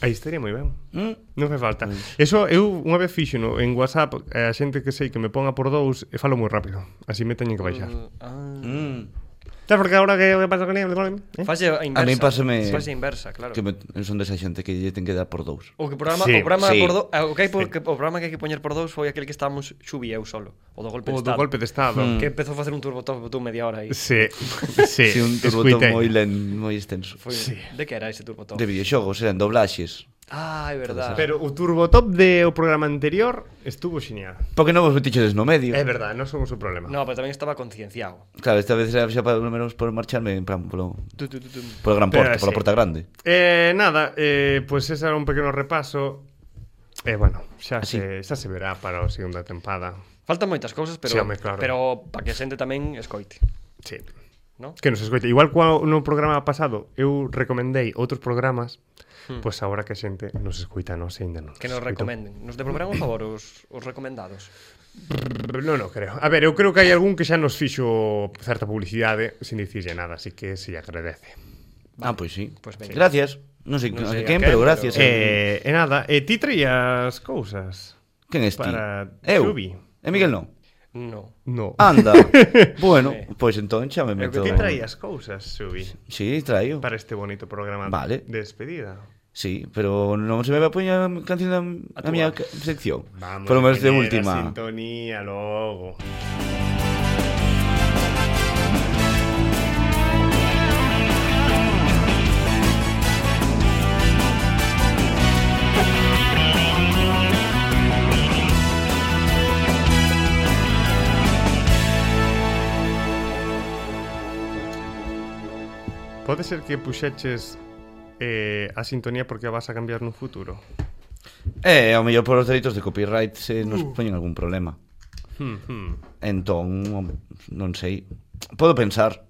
[SPEAKER 1] Aí estaría moi ben. Mm? Non fai falta. Eso eu unha vez fixo no, en WhatsApp eh, a xente que sei que me ponga por dous e falo moi rápido. Así me teñen que baixar. Mm.
[SPEAKER 3] Ah,
[SPEAKER 1] Sabes porque agora que que pasa con ele? ¿Eh?
[SPEAKER 3] Fase a inversa.
[SPEAKER 2] A min pásame-
[SPEAKER 3] Fase a inversa, claro.
[SPEAKER 2] Que me, eu son desa xente que lle ten que dar por dous.
[SPEAKER 3] O que programa,
[SPEAKER 1] Sí,
[SPEAKER 3] o programa
[SPEAKER 2] sí.
[SPEAKER 3] por do, eh, o que hai por, que, o programa que hai que poñer por dous foi aquel que estábamos Xubi e eu solo, o do golpe
[SPEAKER 1] O do
[SPEAKER 3] de estado.
[SPEAKER 1] golpe de estado. Mm.
[SPEAKER 3] que empezou a facer un turbotop botou media hora
[SPEAKER 1] *laughs*
[SPEAKER 3] aí.
[SPEAKER 1] Sí, sí,
[SPEAKER 2] Si un turbotón
[SPEAKER 1] escuitei.
[SPEAKER 2] moi len, moi extenso.
[SPEAKER 3] Foi,
[SPEAKER 1] Sí.
[SPEAKER 3] De que era ese turbotop?
[SPEAKER 2] De videoxogos, eran doblaxes.
[SPEAKER 3] Ah, é verdade.
[SPEAKER 1] Pero o turbotop de o programa anterior estuvo xeñal.
[SPEAKER 2] Porque non vos metiches no medio.
[SPEAKER 1] É verdade, non somos o problema.
[SPEAKER 3] No, pero tamén estaba concienciado.
[SPEAKER 2] Claro, esta vez era xa para polo menos por marcharme en plan polo,
[SPEAKER 3] Tu, tu, tu, tu.
[SPEAKER 2] polo gran
[SPEAKER 1] Pero
[SPEAKER 2] porta,
[SPEAKER 1] sí.
[SPEAKER 2] pola porta grande.
[SPEAKER 1] Eh, nada, eh, pues ese era un pequeno repaso. Eh, bueno, xa
[SPEAKER 2] Así.
[SPEAKER 1] se, xa se verá para a segunda tempada.
[SPEAKER 3] Faltan moitas cousas, pero
[SPEAKER 1] Sí, home, claro.
[SPEAKER 3] pero para que a xente tamén escoite,
[SPEAKER 1] Sí.
[SPEAKER 3] ¿no?
[SPEAKER 1] Que nos escoite. Igual cual no programa pasado eu recomendei outros programas, hmm. pois pues agora que a xente nos escoita, non sei, ainda non.
[SPEAKER 3] Que nos
[SPEAKER 1] escoitou.
[SPEAKER 3] recomenden. Nos devolverán un favor os, os recomendados.
[SPEAKER 1] Brr, Non, non creo. A ver, eu creo que hai algún que xa nos fixo certa publicidade sin dicirlle nada, así que se lle agradece.
[SPEAKER 2] Ah, pois sí.
[SPEAKER 3] Pois veña.
[SPEAKER 2] gracias. Non sei,
[SPEAKER 3] Non
[SPEAKER 2] a
[SPEAKER 3] sei a quen,
[SPEAKER 2] quen, pero
[SPEAKER 3] pero-
[SPEAKER 2] gracias. Eh,
[SPEAKER 1] Eh, e nada, e ti traías cousas.
[SPEAKER 2] quen es ti?
[SPEAKER 1] para
[SPEAKER 2] Eu.
[SPEAKER 1] Xubi.
[SPEAKER 2] E Miguel non.
[SPEAKER 3] No.
[SPEAKER 1] No.
[SPEAKER 2] Anda. bueno, pois entón xa me
[SPEAKER 1] eu Ah, que
[SPEAKER 2] meto.
[SPEAKER 1] ti traías cousas, Xubi,
[SPEAKER 2] Sí, traio.
[SPEAKER 1] para este bonito programa
[SPEAKER 2] Vale.
[SPEAKER 1] de despedida.
[SPEAKER 2] Sí, pero non se me vai poñer a canción da
[SPEAKER 3] A
[SPEAKER 2] a
[SPEAKER 3] túa.
[SPEAKER 2] miña ca- sección.
[SPEAKER 1] Vamos,
[SPEAKER 2] Polo menos de
[SPEAKER 1] teñer a
[SPEAKER 2] última.
[SPEAKER 1] sintonía logo. Pode ser que puxeches eh, a sintonía porque a vas a cambiar no futuro.
[SPEAKER 2] Eh, ao mellor polos delitos de copyright se nos poñen algún problema. Entón, home, non sei. Podo pensar.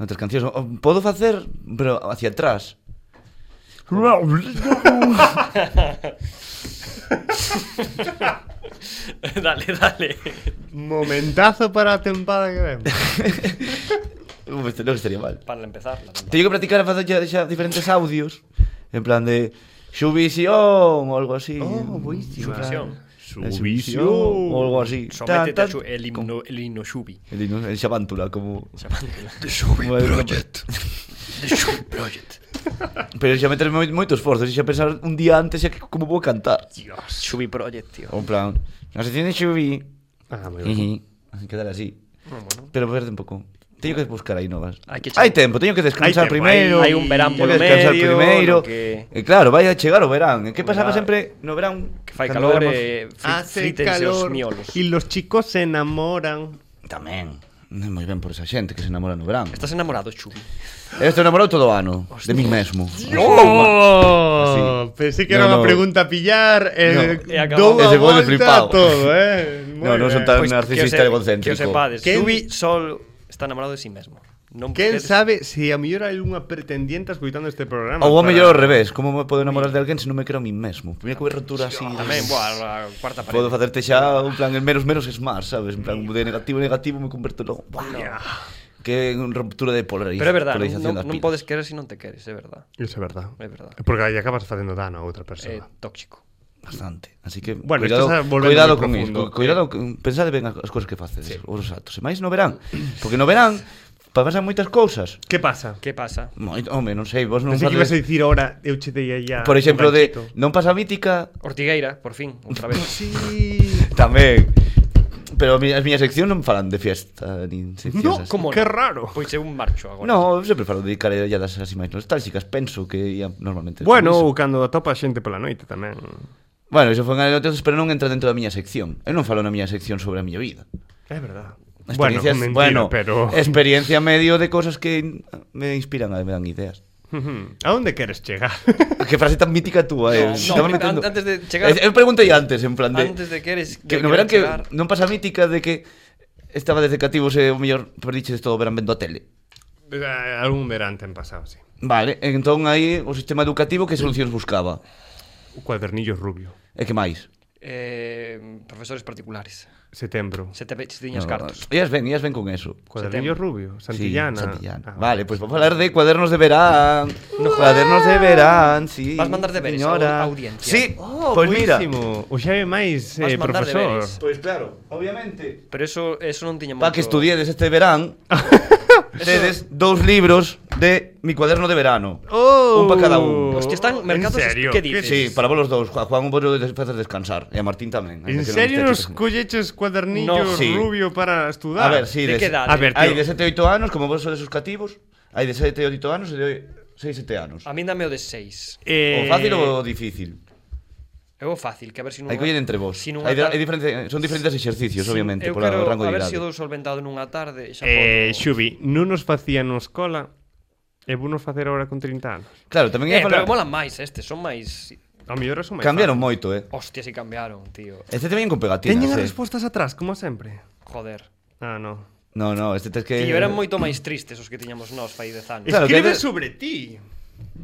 [SPEAKER 2] Outras cancións. O- Podo facer, pero hacia atrás.
[SPEAKER 1] *laughs*
[SPEAKER 3] dale, dale.
[SPEAKER 1] Momentazo para a tempada que vemos.
[SPEAKER 2] Non estaría mal.
[SPEAKER 3] Para empezar, la temporada.
[SPEAKER 2] Teño que practicar a facer xa, xa diferentes audios En plan de Xubisión ou algo así
[SPEAKER 1] Oh, buenísima.
[SPEAKER 3] Subvisión.
[SPEAKER 2] Xubisión Ou algo así
[SPEAKER 3] Sométete a
[SPEAKER 2] Ta, ta.
[SPEAKER 3] xu- el himno, el himno Xubi.
[SPEAKER 2] El, himno- el
[SPEAKER 3] *laughs*
[SPEAKER 2] xavántula como
[SPEAKER 3] The
[SPEAKER 2] como é-
[SPEAKER 3] Xubi Project.
[SPEAKER 2] Pero xa meterme moi, moito esforzo Xa pensar un día antes xa que como vou cantar
[SPEAKER 3] Xubi Project, tío.
[SPEAKER 2] Ou en plan Na sección de Xubi
[SPEAKER 1] Ah, moi ben.
[SPEAKER 2] Ijí. Quedar así Pero perder un pouco Teño que buscar aí novas
[SPEAKER 3] Hai que
[SPEAKER 2] Hai
[SPEAKER 3] chegar.
[SPEAKER 2] tempo, teño que
[SPEAKER 1] Hai
[SPEAKER 2] descansar
[SPEAKER 1] tempo,
[SPEAKER 2] primeiro
[SPEAKER 1] hai- hai
[SPEAKER 3] un verán
[SPEAKER 2] teño
[SPEAKER 3] polo
[SPEAKER 2] que descansar
[SPEAKER 3] medio,
[SPEAKER 2] primeiro
[SPEAKER 3] no que-
[SPEAKER 2] E claro, vai a chegar o verán E que pasaba
[SPEAKER 3] Verán.
[SPEAKER 2] sempre no verán
[SPEAKER 3] Que fai
[SPEAKER 2] cando
[SPEAKER 3] calor eh,
[SPEAKER 2] éramos-
[SPEAKER 3] e frítense os miolos.
[SPEAKER 1] y los chicos se enamoran.
[SPEAKER 2] Tamén. Non é moi ben por esa xente que se namora no verán.
[SPEAKER 3] Estás enamorado, Xubi.
[SPEAKER 2] Eu estou namorado todo o ano, de mí mesmo.
[SPEAKER 1] ¡Oh! Pensé que era
[SPEAKER 2] No, no.
[SPEAKER 1] una pregunta a pillar. Eh,
[SPEAKER 3] No. E
[SPEAKER 1] dou
[SPEAKER 3] acabamos.
[SPEAKER 1] a
[SPEAKER 2] Ese gol
[SPEAKER 1] volta
[SPEAKER 2] de flipao.
[SPEAKER 1] a todo, eh. Moi
[SPEAKER 2] No, non son
[SPEAKER 1] ben.
[SPEAKER 2] tan
[SPEAKER 3] Pois,
[SPEAKER 2] narcisista
[SPEAKER 3] que o
[SPEAKER 2] e
[SPEAKER 3] se-
[SPEAKER 2] egocéntrico.
[SPEAKER 3] Que o sepades,
[SPEAKER 1] ¿Quién-
[SPEAKER 3] Xubi solo está enamorado de sí mesmo. Non
[SPEAKER 1] Quen
[SPEAKER 3] queres-
[SPEAKER 1] sabe se a mellor hai unha pretendienta escuitando este programa.
[SPEAKER 2] Ou o
[SPEAKER 1] para-
[SPEAKER 2] mellor ao revés, como me podo enamorar de alguén se non me creo a mí mesmo? Primeira cobertura así...
[SPEAKER 3] Tamén, boa, Ah, a cuarta parede.
[SPEAKER 2] Podo facerte xa un plan en menos menos es máis, sabes? En plan de negativo negativo me converto no...
[SPEAKER 1] Ya.
[SPEAKER 2] Que unha ruptura de polarización.
[SPEAKER 3] Pero é verdade, non,
[SPEAKER 2] polarización das
[SPEAKER 3] non
[SPEAKER 2] pilas.
[SPEAKER 3] podes querer se non te queres, é verdade.
[SPEAKER 1] Iso é verdad. Eh,
[SPEAKER 3] É verdade.
[SPEAKER 1] Porque aí acabas facendo dano a outra
[SPEAKER 3] É
[SPEAKER 1] persoa.
[SPEAKER 3] Eh, tóxico.
[SPEAKER 2] Bastante. Así que
[SPEAKER 1] Bueno,
[SPEAKER 2] cuidado,
[SPEAKER 1] estás volvendo
[SPEAKER 2] cuidado
[SPEAKER 1] moi
[SPEAKER 2] con
[SPEAKER 1] profundo.
[SPEAKER 2] isto, cu- cuidado, eh. pensade ben as cousas que facedes, sí. os actos. E máis no verán, porque no verán Pa pasan moitas cousas.
[SPEAKER 1] Que pasa?
[SPEAKER 3] Que pasa?
[SPEAKER 2] Moi, home, non sei, vos non
[SPEAKER 1] Pensei que ibas a
[SPEAKER 2] facedes...
[SPEAKER 1] dicir ahora, eu che dei aí a-
[SPEAKER 2] Por exemplo,
[SPEAKER 1] un
[SPEAKER 2] de
[SPEAKER 1] ganchito.
[SPEAKER 2] non pasa mítica
[SPEAKER 3] Ortigueira, por fin, outra
[SPEAKER 2] *laughs*
[SPEAKER 3] vez.
[SPEAKER 1] Sí.
[SPEAKER 2] tamén. Pero a mi- as miñas sección non falan de fiesta nin seccións
[SPEAKER 1] No,
[SPEAKER 2] así.
[SPEAKER 1] como que raro.
[SPEAKER 3] Pois eu marcho agora.
[SPEAKER 2] No, eu sempre falo de carelladas así máis nostálgicas, penso que ia normalmente.
[SPEAKER 1] Bueno,
[SPEAKER 2] con
[SPEAKER 1] ou
[SPEAKER 2] iso.
[SPEAKER 1] cando atopa xente pola noite tamén.
[SPEAKER 2] bueno, iso foi anécdotas, pero non entra dentro da miña sección. Eu non falo na miña sección sobre a miña vida.
[SPEAKER 1] É verdad. Bueno,
[SPEAKER 2] Experiencias,
[SPEAKER 1] mentira,
[SPEAKER 2] bueno,
[SPEAKER 1] pero
[SPEAKER 2] experiencia medio de cosas que in- me inspiran, me dan ideas.
[SPEAKER 1] *laughs* a onde queres chegar?
[SPEAKER 2] Que frase tan mítica túa, eh.
[SPEAKER 3] No, no,
[SPEAKER 2] Estaba
[SPEAKER 3] an-
[SPEAKER 2] metendo-
[SPEAKER 3] antes de chegar-
[SPEAKER 2] Eh, Eu preguntei antes, en plan de...
[SPEAKER 3] Antes de que eres-
[SPEAKER 2] Que
[SPEAKER 3] de
[SPEAKER 2] no
[SPEAKER 3] querer
[SPEAKER 2] verán que
[SPEAKER 3] chegar.
[SPEAKER 2] non pasa mítica de que estaba desde cativos e o mellor perdiches todo o verán vendo a tele.
[SPEAKER 1] Eh, Algún verán ten pasado, sí.
[SPEAKER 2] Vale, entón aí o sistema educativo que solucións buscaba?
[SPEAKER 1] O cuadernillo rubio.
[SPEAKER 2] E que máis?
[SPEAKER 3] Eh, profesores particulares.
[SPEAKER 1] Setembro.
[SPEAKER 3] Se te ve- se tiñas
[SPEAKER 2] No,
[SPEAKER 3] cartos.
[SPEAKER 2] Ellas ven, ellas ven con eso.
[SPEAKER 1] Cuadernillo
[SPEAKER 3] Setembro.
[SPEAKER 1] rubio, Santillana.
[SPEAKER 2] Sí, Santillana.
[SPEAKER 1] Ah,
[SPEAKER 2] vale, pois pues, vamos falar de cuadernos de verán. No, cuadernos de verán, sí.
[SPEAKER 3] Vas mandar deberes a
[SPEAKER 2] señora.
[SPEAKER 3] au- audiencia.
[SPEAKER 2] Sí,
[SPEAKER 1] Oh,
[SPEAKER 2] pois mira.
[SPEAKER 1] buenísimo. O xa é máis
[SPEAKER 3] Vas
[SPEAKER 1] eh,
[SPEAKER 3] mandar
[SPEAKER 1] profesor.
[SPEAKER 3] deberes.
[SPEAKER 2] Pois Pues claro, obviamente.
[SPEAKER 3] Pero eso, eso non tiña moito...
[SPEAKER 2] Para que estudiedes
[SPEAKER 1] *laughs*
[SPEAKER 2] este verán, tedes dous libros de mi cuaderno de verano.
[SPEAKER 1] Oh,
[SPEAKER 2] Un pa cada un.
[SPEAKER 3] Hostia, están
[SPEAKER 1] ¿En
[SPEAKER 3] mercados-
[SPEAKER 1] serio?
[SPEAKER 3] ¿qué dices?
[SPEAKER 2] Sí, para vos los dous. A Juan un vos de facer descansar. E a Martín tamén.
[SPEAKER 1] ¿En
[SPEAKER 2] aínda que non
[SPEAKER 1] serio nos
[SPEAKER 2] estea aquí presente.
[SPEAKER 1] colleches cuadernillo
[SPEAKER 3] No,
[SPEAKER 2] sí.
[SPEAKER 1] rubio para estudar?
[SPEAKER 2] A ver, sí.
[SPEAKER 3] De
[SPEAKER 2] des-
[SPEAKER 3] que edade?
[SPEAKER 1] A ver,
[SPEAKER 2] Hai
[SPEAKER 1] tío.
[SPEAKER 2] de 7 e 8 anos, como vos sodes os cativos, hai de 7 e 8 anos e de 6 e 7 anos.
[SPEAKER 3] A mí dame o de 6.
[SPEAKER 1] Eh,
[SPEAKER 2] O fácil ou o difícil?
[SPEAKER 3] É o fácil, que a ver se non...
[SPEAKER 2] Hai que ver entre vos.
[SPEAKER 3] Si non
[SPEAKER 2] Hai, hai diferente, son diferentes exercicios, obviamente,
[SPEAKER 3] eu
[SPEAKER 2] por o
[SPEAKER 3] quero
[SPEAKER 2] rango de
[SPEAKER 3] a ver
[SPEAKER 2] idade.
[SPEAKER 3] se o dou solventado nunha tarde xa
[SPEAKER 1] Eh,
[SPEAKER 3] podo...
[SPEAKER 1] Xubi, non nos facían nos cola e vou nos facer agora con 30 anos.
[SPEAKER 2] Claro, tamén
[SPEAKER 3] Eh,
[SPEAKER 2] ia
[SPEAKER 3] pero
[SPEAKER 2] falar.
[SPEAKER 3] molan máis estes, son máis...
[SPEAKER 1] A mellor son máis
[SPEAKER 2] Cambiaron moito, eh.
[SPEAKER 3] Hostia, si cambiaron, tío.
[SPEAKER 2] Este te veñen con pegatinas,
[SPEAKER 1] Teñen as
[SPEAKER 2] eh.
[SPEAKER 1] respostas atrás, como sempre.
[SPEAKER 3] Joder.
[SPEAKER 1] Ah, no.
[SPEAKER 2] No, no, este tes que
[SPEAKER 3] Tío, eran moito máis tristes os que tiñamos nós fai dez anos.
[SPEAKER 2] Claro,
[SPEAKER 1] Escribe
[SPEAKER 2] que-
[SPEAKER 1] sobre ti.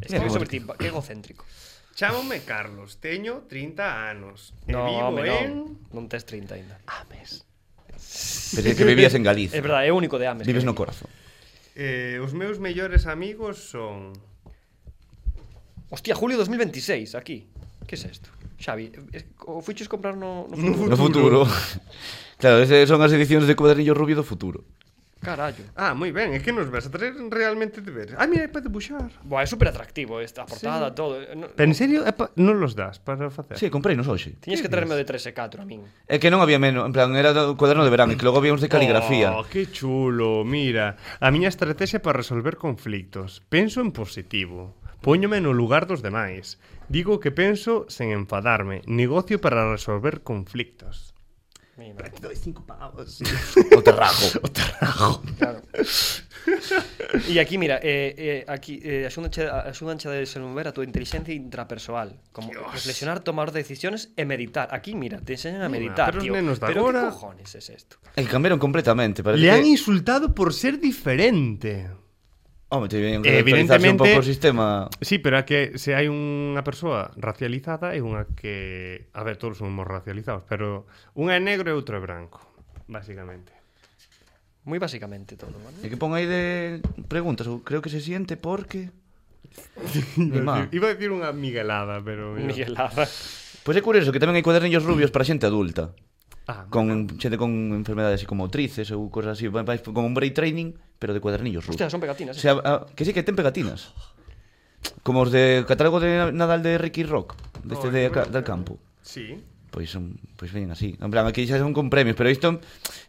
[SPEAKER 3] Escribe sobre ti, que egocéntrico.
[SPEAKER 1] Chámome Carlos, teño 30 anos. E
[SPEAKER 3] No,
[SPEAKER 1] Eh, vivo
[SPEAKER 3] home,
[SPEAKER 1] en...
[SPEAKER 3] non. Non tes 30 ainda.
[SPEAKER 2] Pensei que vivías en Galicia.
[SPEAKER 3] É verdade, é o único de Ames.
[SPEAKER 2] Vives
[SPEAKER 3] que
[SPEAKER 2] no
[SPEAKER 3] hai.
[SPEAKER 2] corazón.
[SPEAKER 1] Eh, os meus mellores amigos son...
[SPEAKER 3] Hostia, julio 2026, aquí. Que é isto? Xavi, es- o fuiches comprar no, no futuro?
[SPEAKER 2] No futuro. *laughs* claro, ese son as edicións de Cuadernillo Rubio do futuro.
[SPEAKER 3] Carallo.
[SPEAKER 1] Ah, moi ben, é que nos vas a traer realmente deberes. Ah, mira, é para debuxar.
[SPEAKER 3] Boa, é super atractivo esta portada, sí. todo. eh, No,
[SPEAKER 1] Pero en serio, é pa... non los das para facer?
[SPEAKER 2] Sí, comprei nos hoxe.
[SPEAKER 3] tiñes que traerme o de 3 e 4 a min.
[SPEAKER 2] É que non había menos, en plan, era do cuaderno de verán, e que logo había uns de caligrafía.
[SPEAKER 1] Oh, que chulo, mira. A miña estrategia para resolver conflictos. Penso en positivo. Póñome no lugar dos demais. Digo que penso sen enfadarme. Negocio para resolver conflictos.
[SPEAKER 3] Mira,
[SPEAKER 2] O
[SPEAKER 3] *laughs*
[SPEAKER 2] terrajo.
[SPEAKER 3] claro. e aquí, mira, eh, eh, aquí eh, axúndanche, axúndanche a desenvolver a túa inteligencia intrapersoal. Como Dios. reflexionar, tomar decisiones e meditar. Aquí, mira, te enseñan a
[SPEAKER 1] Mira,
[SPEAKER 3] meditar,
[SPEAKER 1] pero os
[SPEAKER 3] tío.
[SPEAKER 1] nenos de
[SPEAKER 3] pero
[SPEAKER 1] agora-
[SPEAKER 3] que cojones es esto?
[SPEAKER 2] e que cambiaron completamente. Parece
[SPEAKER 1] Le han
[SPEAKER 2] que...
[SPEAKER 1] insultado por ser diferente.
[SPEAKER 2] Home, te veñen
[SPEAKER 1] Eh,
[SPEAKER 2] que actualizarse un
[SPEAKER 1] evidentemente-
[SPEAKER 2] pouco o sistema.
[SPEAKER 1] Sí, pero é que se hai unha persoa racializada e unha que... A ver, todos somos racializados, pero unha é negro e outro é branco, basicamente.
[SPEAKER 3] Muy básicamente todo, ¿vale?
[SPEAKER 2] E que pon aí de preguntas, ou creo que se siente porque... Ni má.
[SPEAKER 1] Iba a decir unha miguelada, pero...
[SPEAKER 3] Miguel Lara.
[SPEAKER 2] Pois é curioso que tamén hai cuadernillos rubios para xente adulta.
[SPEAKER 1] Ah,
[SPEAKER 2] Con xente con enfermedades psicomotrices ou cosas así, vai- vai como un brain training, pero de cuadernillos rubios.
[SPEAKER 3] Hostia, son pegatinas.
[SPEAKER 2] O
[SPEAKER 3] eh.
[SPEAKER 2] sea, a- que sí que ten pegatinas. Como os de catálogo de Nadal de Ricky Rock, deste de, ca- del campo.
[SPEAKER 1] sí.
[SPEAKER 2] Pois son, pois veñen así. En plan, aquí xa son con premios, pero isto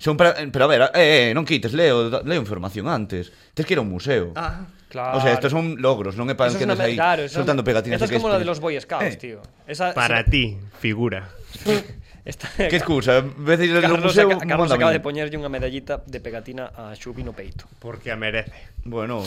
[SPEAKER 2] son para, pero a ver, eh, eh, non quites, leo, da- leo información antes. Tes que ir a un museo.
[SPEAKER 1] Ah,
[SPEAKER 3] Claro.
[SPEAKER 2] O sea, estos son logros, non é para
[SPEAKER 3] Eso es
[SPEAKER 2] que
[SPEAKER 3] una me-
[SPEAKER 2] nos aí
[SPEAKER 3] claro, eso es una-
[SPEAKER 2] soltando pegatinas.
[SPEAKER 3] Esto es
[SPEAKER 2] e que
[SPEAKER 3] como la de
[SPEAKER 2] espe-
[SPEAKER 3] los Boy Scouts, tío. Esa,
[SPEAKER 1] Para
[SPEAKER 3] esa-
[SPEAKER 1] ti, figura.
[SPEAKER 3] Esta,
[SPEAKER 2] Que excusa, veces ir ao
[SPEAKER 3] Carlos,
[SPEAKER 2] museo,
[SPEAKER 3] aca- Carlos
[SPEAKER 2] manda
[SPEAKER 3] acaba
[SPEAKER 2] a
[SPEAKER 3] de
[SPEAKER 2] min.
[SPEAKER 3] poñerlle unha medallita de pegatina a Xubi no peito.
[SPEAKER 1] Porque a merece.
[SPEAKER 3] *laughs*
[SPEAKER 2] Bueno,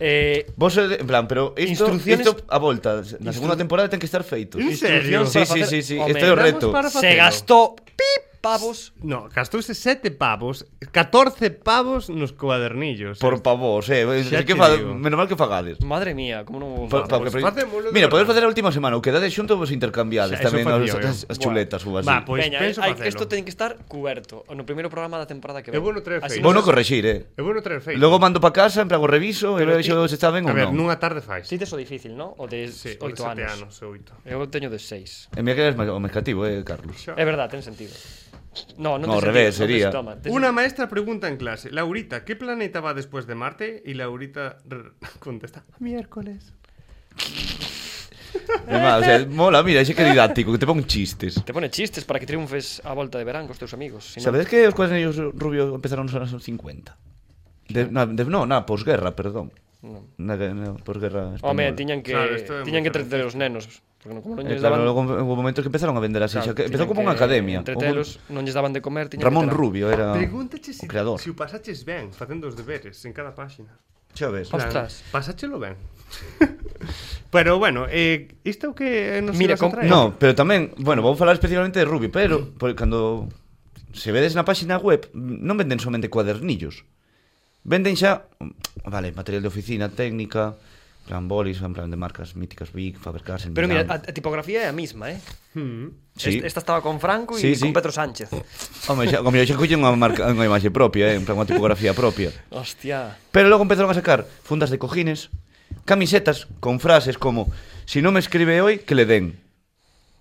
[SPEAKER 3] Eh,
[SPEAKER 2] vos sede- en plan, pero isto,
[SPEAKER 3] Instrucciones-
[SPEAKER 2] isto a volta, na segunda temporada ten que estar feito.
[SPEAKER 1] ¿En serio?
[SPEAKER 3] instruccións
[SPEAKER 2] Sí,
[SPEAKER 3] para
[SPEAKER 2] sí,
[SPEAKER 3] facer-
[SPEAKER 2] sí, sí,
[SPEAKER 3] Home,
[SPEAKER 2] este é o
[SPEAKER 1] damos
[SPEAKER 2] reto.
[SPEAKER 1] para
[SPEAKER 3] Se
[SPEAKER 1] facelo.
[SPEAKER 3] gastou pip pavos.
[SPEAKER 1] No, gastouse sete pavos, 14 pavos nos cuadernillos.
[SPEAKER 2] Por
[SPEAKER 1] pavos.
[SPEAKER 2] pavos, eh,
[SPEAKER 1] Xa
[SPEAKER 2] que
[SPEAKER 1] te
[SPEAKER 2] fa,
[SPEAKER 1] digo.
[SPEAKER 2] menos mal que fagades.
[SPEAKER 3] Madre mía, como non vou
[SPEAKER 2] Pa, pa,
[SPEAKER 1] Pois
[SPEAKER 2] que-
[SPEAKER 1] facémolo de
[SPEAKER 2] Mira, podes
[SPEAKER 1] verdade.
[SPEAKER 2] facer a última semana, o quedades xunto vos intercambiades
[SPEAKER 1] Xa, eso
[SPEAKER 2] tamén as,
[SPEAKER 1] facía eu.
[SPEAKER 3] eh.
[SPEAKER 2] as, as chuletas ou así.
[SPEAKER 1] Va, pois
[SPEAKER 3] Veña,
[SPEAKER 1] penso
[SPEAKER 3] hai-
[SPEAKER 1] facelo.
[SPEAKER 3] isto ten que estar cuberto no primeiro programa da temporada
[SPEAKER 1] É
[SPEAKER 3] que ven.
[SPEAKER 1] bueno traer
[SPEAKER 3] Así
[SPEAKER 1] feitos.
[SPEAKER 2] Vou
[SPEAKER 3] nos-
[SPEAKER 2] non correxir, eh.
[SPEAKER 1] É bueno traer feito.
[SPEAKER 2] Logo mando pa casa, en plan, o reviso, e
[SPEAKER 3] Pero
[SPEAKER 2] vexo se está ben
[SPEAKER 1] A
[SPEAKER 2] ou
[SPEAKER 1] ver,
[SPEAKER 2] non.
[SPEAKER 1] nunha tarde fai.
[SPEAKER 3] Sí, teso difícil, ¿no? O de 8
[SPEAKER 1] oito
[SPEAKER 3] anos.
[SPEAKER 1] anos. anos oito.
[SPEAKER 3] Eu teño de 6.
[SPEAKER 2] E mira que eres máis o máis cativo, eh, Carlos.
[SPEAKER 1] Xa.
[SPEAKER 3] É verdade, ten sentido. No, no
[SPEAKER 2] No,
[SPEAKER 3] te
[SPEAKER 2] ao revés,
[SPEAKER 3] sentido,
[SPEAKER 2] sería.
[SPEAKER 3] No te sentoma, te
[SPEAKER 1] Una maestra pregunta en clase, Laurita, ¿qué planeta va después de Marte? Y Laurita r- *laughs* contesta, miércoles.
[SPEAKER 2] Además, o sea, mola, mira, ese que didáctico, que te pon chistes.
[SPEAKER 3] sen- Te pone chistes para que triunfes a volta de verán cos teus amigos. Si non-
[SPEAKER 2] Sabes que os cuadernillos rubios empezaron nos anos 50? De, na, de, no, na posguerra, perdón.
[SPEAKER 3] Non.
[SPEAKER 2] Na, na posguerra española.
[SPEAKER 3] Home, tiñan que
[SPEAKER 1] Claro, isto é
[SPEAKER 3] tiñan que
[SPEAKER 1] moi
[SPEAKER 3] entreter os nenos, porque non como non lles
[SPEAKER 2] Eh, claro,
[SPEAKER 3] daban.
[SPEAKER 2] logo hubo momentos que empezaron a vender así,
[SPEAKER 3] claro,
[SPEAKER 2] xa que empezou
[SPEAKER 3] tiñan
[SPEAKER 2] como unha
[SPEAKER 3] que
[SPEAKER 2] academia.
[SPEAKER 3] Entretelos, non lles daban de comer, tiñan
[SPEAKER 2] Ramón
[SPEAKER 3] que ter-
[SPEAKER 2] Rubio era
[SPEAKER 1] Pregúntache se,
[SPEAKER 2] o creador.
[SPEAKER 1] se o pasaches ben facendo os deberes en cada páxina.
[SPEAKER 2] Xa ves.
[SPEAKER 3] Ostras.
[SPEAKER 1] Pasáchelo ben. *laughs* Pero bueno, eh, isto é o que nos
[SPEAKER 3] Mira,
[SPEAKER 1] ibas a
[SPEAKER 3] com-
[SPEAKER 1] traer?
[SPEAKER 2] No, pero tamén, bueno, vou falar especialmente de Ruby, pero por, cando se vedes na páxina web, non venden somente cuadernillos. Venden xa, vale, material de oficina, técnica, en plan bolis, en plan de marcas míticas, Big, Faber-Castell,
[SPEAKER 3] Pero mira,
[SPEAKER 2] Milán.
[SPEAKER 3] a, a tipografía é a misma, eh?
[SPEAKER 1] Hmm.
[SPEAKER 2] Sí.
[SPEAKER 3] Est- Esta estaba con Franco e
[SPEAKER 2] Sí, sí.
[SPEAKER 3] con Pedro Sánchez.
[SPEAKER 2] Home, xa, como xa colle unha marca, unha imaxe propia, eh, en plan unha tipografía propia.
[SPEAKER 3] Hostia. Ah,
[SPEAKER 2] Pero logo empezaron a sacar fundas de cojines, camisetas con frases como Si non me escribe hoy, que le den.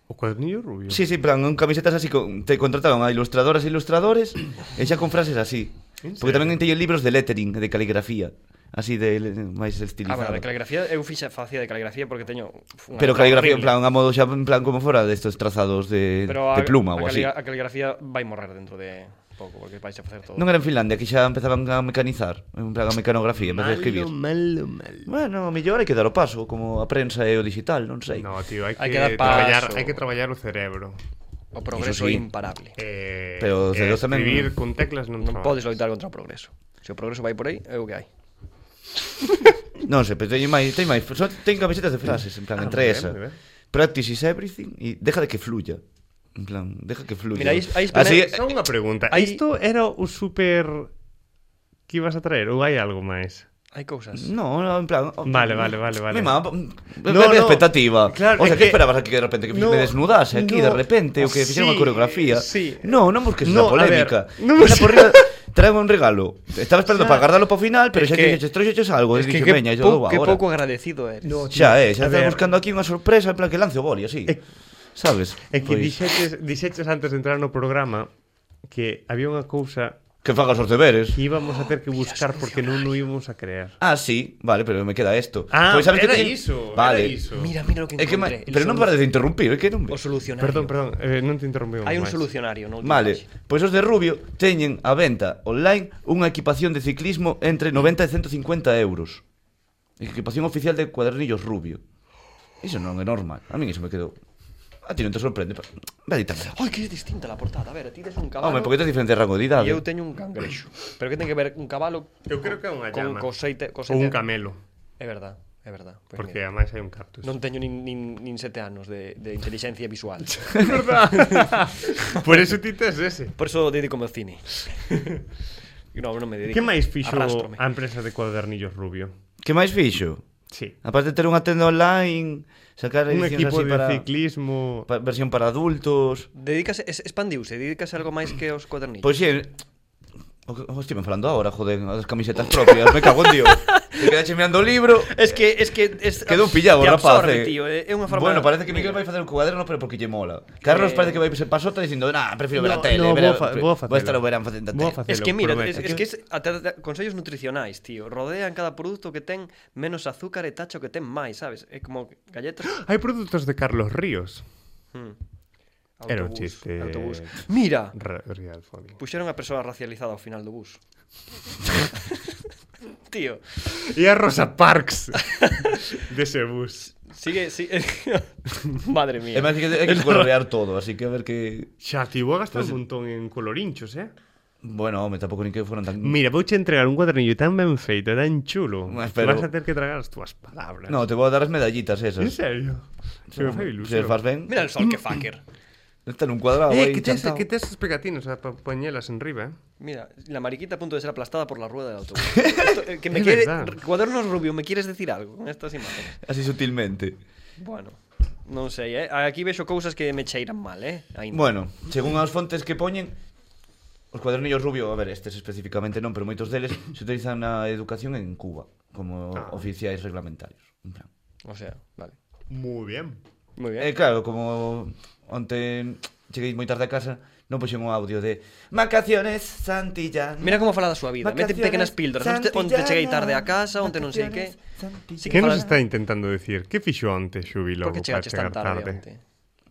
[SPEAKER 1] O cuadernillo rubio.
[SPEAKER 2] Sí, sí, en plan, un camisetas así con, te contrataron a ilustradoras e ilustradores e xa con frases así.
[SPEAKER 1] En
[SPEAKER 2] Porque
[SPEAKER 1] serio?
[SPEAKER 2] tamén teñen libros de lettering, de caligrafía, así de le- máis
[SPEAKER 3] Ah, bueno,
[SPEAKER 2] estilizado.
[SPEAKER 3] de caligrafía, eu fixa facía de caligrafía porque teño uf, unha
[SPEAKER 2] Pero
[SPEAKER 3] letra
[SPEAKER 2] caligrafía en
[SPEAKER 3] horrible.
[SPEAKER 2] plan a modo xa en plan como fora destes trazados de,
[SPEAKER 3] Pero a,
[SPEAKER 2] de pluma
[SPEAKER 3] a
[SPEAKER 2] ou así.
[SPEAKER 3] caligra- A caligrafía vai morrer dentro de pouco porque vais a facer todo.
[SPEAKER 2] Non era en Finlandia que xa empezaban a mecanizar, en plan a mecanografía, en vez de escribir.
[SPEAKER 1] malo, malo.
[SPEAKER 2] Bueno, a mellor hai que dar o paso, como a prensa e o digital, non sei.
[SPEAKER 1] No, tío, hai que,
[SPEAKER 3] Hai que dar
[SPEAKER 1] traballar,
[SPEAKER 3] paso.
[SPEAKER 1] hai que traballar o cerebro.
[SPEAKER 3] O progreso
[SPEAKER 2] Iso
[SPEAKER 3] é
[SPEAKER 2] sí.
[SPEAKER 3] imparable.
[SPEAKER 1] Eh,
[SPEAKER 2] Pero os
[SPEAKER 1] eh,
[SPEAKER 2] dedos tamén-
[SPEAKER 1] escribir con teclas non,
[SPEAKER 3] Non
[SPEAKER 1] traballas.
[SPEAKER 3] podes loitar contra o progreso. Se o progreso vai por aí, é o que hai.
[SPEAKER 2] Non sei, pero teñen máis, teñen máis, só teñen camisetas de frases, en plan,
[SPEAKER 1] Ah,
[SPEAKER 2] entre
[SPEAKER 1] moi ben,
[SPEAKER 2] esa.
[SPEAKER 1] moi ben.
[SPEAKER 2] Practice is everything e deja de que fluya. En plan, deja que fluya.
[SPEAKER 3] Mira, aí- aí
[SPEAKER 2] Así,
[SPEAKER 3] experimenta-
[SPEAKER 1] Só unha pregunta.
[SPEAKER 3] Hai-
[SPEAKER 1] Isto era o super que ibas a traer ou hai algo máis?
[SPEAKER 3] Hai cousas.
[SPEAKER 2] No, no, en plan... oh,
[SPEAKER 1] Vale, vale, vale, vale.
[SPEAKER 2] Mima, no, no, expectativa.
[SPEAKER 1] claro,
[SPEAKER 2] o
[SPEAKER 1] é
[SPEAKER 2] sea, que,
[SPEAKER 1] que-
[SPEAKER 2] esperabas aquí que de repente que
[SPEAKER 1] No,
[SPEAKER 2] me desnudase aquí de
[SPEAKER 1] no,
[SPEAKER 2] repente o que fixera
[SPEAKER 1] sí,
[SPEAKER 2] unha coreografía.
[SPEAKER 1] sí.
[SPEAKER 2] No, non busques
[SPEAKER 1] No,
[SPEAKER 2] no,
[SPEAKER 1] a
[SPEAKER 2] polémica.
[SPEAKER 1] ver, no
[SPEAKER 2] Esa
[SPEAKER 1] sé.
[SPEAKER 2] porrida, Traeme un regalo. Estaba
[SPEAKER 1] Xa.
[SPEAKER 2] esperando para guardarlo para o final, pero
[SPEAKER 3] Es
[SPEAKER 2] xa
[SPEAKER 3] que-
[SPEAKER 2] que dixeches algo, e dixen,
[SPEAKER 3] que
[SPEAKER 2] veña,
[SPEAKER 3] pou-
[SPEAKER 2] yo dou
[SPEAKER 3] que
[SPEAKER 2] agora.
[SPEAKER 3] pouco agradecido eres. No,
[SPEAKER 2] Xa, eh, xa
[SPEAKER 1] A ver.
[SPEAKER 2] estás buscando aquí unha sorpresa, en plan que lance o boli, así.
[SPEAKER 1] É-
[SPEAKER 2] Sabes?
[SPEAKER 1] É que
[SPEAKER 2] Pois,
[SPEAKER 1] dixeches, dixeches antes de entrar no programa que había unha cousa
[SPEAKER 2] que fagas os deberes.
[SPEAKER 1] que íbamos a
[SPEAKER 3] Oh,
[SPEAKER 1] ter que buscar porque non o íbamos a creer.
[SPEAKER 2] Ah, sí, vale, pero me queda esto.
[SPEAKER 1] Ah,
[SPEAKER 2] Pois,
[SPEAKER 1] era
[SPEAKER 2] que teñen-
[SPEAKER 1] iso,
[SPEAKER 2] Vale.
[SPEAKER 1] era iso.
[SPEAKER 3] Mira, mira o que
[SPEAKER 2] É que ma-
[SPEAKER 3] encontré. El
[SPEAKER 2] Pero non
[SPEAKER 3] solu-
[SPEAKER 2] pares de interrumpir, é que non...
[SPEAKER 3] O
[SPEAKER 2] ve-
[SPEAKER 3] solucionario.
[SPEAKER 1] Perdón, perdón, eh, non te interrumpimos
[SPEAKER 3] Hai
[SPEAKER 1] máis.
[SPEAKER 3] un solucionario, non?
[SPEAKER 2] Vale, pois os de Rubio teñen a venta online unha equipación de ciclismo entre 90 e 150 euros. Equipación oficial de cuadernillos Rubio. Iso non é normal. A min iso me quedou... A ti non te sorprende. pero- Ve a ditarme.
[SPEAKER 3] Ai, que é distinta la portada. A ver, ti tes un cabalo.
[SPEAKER 2] Home, porque tes diferente rango de idade.
[SPEAKER 3] E eu teño un cangrexo. Pero que ten que ver un cabalo
[SPEAKER 1] Eu creo que é unha llama.
[SPEAKER 3] con coseite, coseite.
[SPEAKER 1] Ou un camelo,
[SPEAKER 3] É verdad, é verdad. Pois
[SPEAKER 1] porque
[SPEAKER 3] mira,
[SPEAKER 1] ademais hai un cactus.
[SPEAKER 3] non teño nin, nin, nin sete anos de, de inteligencia
[SPEAKER 2] *laughs*
[SPEAKER 3] visual.
[SPEAKER 1] *laughs* Por eso ti tes ese.
[SPEAKER 3] Por eso dedico ao cine. *laughs* no, non me dedico.
[SPEAKER 1] Que máis fixo
[SPEAKER 3] Arrástrome.
[SPEAKER 1] a empresa de cuadernillos rubio?
[SPEAKER 2] Que máis fixo?
[SPEAKER 1] Sí.
[SPEAKER 2] Aparte de ter unha tenda online, sacar
[SPEAKER 1] Un
[SPEAKER 2] edicións
[SPEAKER 1] equipo
[SPEAKER 2] así
[SPEAKER 1] de
[SPEAKER 2] para...
[SPEAKER 1] ciclismo...
[SPEAKER 2] pa- versión para adultos...
[SPEAKER 3] Dedicas, es, expandiuse, dedicas algo máis que os cuadernillos.
[SPEAKER 2] Pois si, o que o estive falando agora, joder, as camisetas propias, me cago en Dios. Te quedache mirando o libro.
[SPEAKER 3] Es que es que es
[SPEAKER 2] Quedou
[SPEAKER 3] te
[SPEAKER 2] pillado, rapaz.
[SPEAKER 3] absorbe,
[SPEAKER 2] eh.
[SPEAKER 3] tío, é é unha forma Eh,
[SPEAKER 2] Bueno, parece que
[SPEAKER 3] Mira,
[SPEAKER 2] Miguel vai facer o cuaderno, pero porque lle mola. Carlos parece que vai ser pasota dicindo, "Nah, prefiro
[SPEAKER 1] No,
[SPEAKER 2] ver a tele,
[SPEAKER 1] no, vou
[SPEAKER 2] ver a-
[SPEAKER 1] fa-
[SPEAKER 2] pre-
[SPEAKER 1] vou facelo.
[SPEAKER 2] vou estar o verán facendo a
[SPEAKER 1] Vou
[SPEAKER 2] tele."
[SPEAKER 1] facelo.
[SPEAKER 3] Es que mira, es,
[SPEAKER 1] prometo.
[SPEAKER 3] es que es ata- ata- consellos nutricionais, tío. Rodean cada produto que ten menos azúcar e tacho que ten máis, sabes? É como galletas. *gasps*
[SPEAKER 1] Hai produtos de Carlos Ríos. Era un
[SPEAKER 3] autobús,
[SPEAKER 1] chiste.
[SPEAKER 3] Autobús. Mira,
[SPEAKER 1] Re- Real funny.
[SPEAKER 3] puxeron a persoa racializada ao final
[SPEAKER 1] *laughs*
[SPEAKER 3] do bus. *laughs* tío,
[SPEAKER 1] E a Rosa *laughs* Parks dese bus.
[SPEAKER 3] sigue, sigue. *laughs* Madre mía.
[SPEAKER 2] É máis que
[SPEAKER 1] *laughs*
[SPEAKER 2] hai que colorear todo, así que a ver que
[SPEAKER 1] Xa, ti vou a gastar un montón en colorinchos, eh?
[SPEAKER 2] Bueno, home, tampouco nin que foron tan
[SPEAKER 1] Mira, vouche entregar un cuadernillo tan ben feito, tan chulo.
[SPEAKER 2] Mas, pero-
[SPEAKER 1] Vas a ter que tragar as túas palabras.
[SPEAKER 2] No, te vou a dar as medallitas
[SPEAKER 1] En
[SPEAKER 2] esas.
[SPEAKER 1] serio. Se me fai
[SPEAKER 2] Se
[SPEAKER 1] ilusión.
[SPEAKER 2] fas ben,
[SPEAKER 3] Mira el sol que fucker.
[SPEAKER 2] está nun cuadrado
[SPEAKER 1] Eh,
[SPEAKER 2] aí.
[SPEAKER 1] que tes,
[SPEAKER 2] chantao.
[SPEAKER 1] que tes as pegatinas para poñelas en riba, eh?
[SPEAKER 3] Mira, la mariquita a punto de ser aplastada por la rueda del autobús.
[SPEAKER 1] *laughs*
[SPEAKER 3] Esto, eh, que me
[SPEAKER 1] Es
[SPEAKER 3] quede,
[SPEAKER 1] verdad.
[SPEAKER 3] cuadernos rubio, ¿me quieres decir algo con estas imágenes?
[SPEAKER 2] Así sutilmente.
[SPEAKER 3] Bueno, non sei, eh? Aquí vexo cousas que me cheiran mal, eh? Ainda.
[SPEAKER 2] Bueno, según as fontes que poñen Os cuadernillos rubio, a ver, estes especificamente non Pero moitos deles se utilizan na educación en Cuba Como
[SPEAKER 1] Ah.
[SPEAKER 2] oficiais reglamentarios en plan.
[SPEAKER 3] O sea, vale.
[SPEAKER 1] Moi ben. Eh,
[SPEAKER 3] Muy bien.
[SPEAKER 2] Eh, claro, como onte cheguei moi tarde a casa, non puxen un audio de Vacaciones Santillán.
[SPEAKER 3] Mira como fala da súa vida. Mete pequenas píldoras. Onte, onte cheguei tarde a casa, onte non sei que. Sí
[SPEAKER 1] ¿Qué
[SPEAKER 3] que
[SPEAKER 1] nos
[SPEAKER 3] fala-
[SPEAKER 1] está intentando decir? ¿Qué fixo antes, Xubi, logo,
[SPEAKER 3] Por que
[SPEAKER 1] para
[SPEAKER 3] chegaches tan
[SPEAKER 1] chegar
[SPEAKER 3] tarde,
[SPEAKER 1] tarde?
[SPEAKER 3] onte?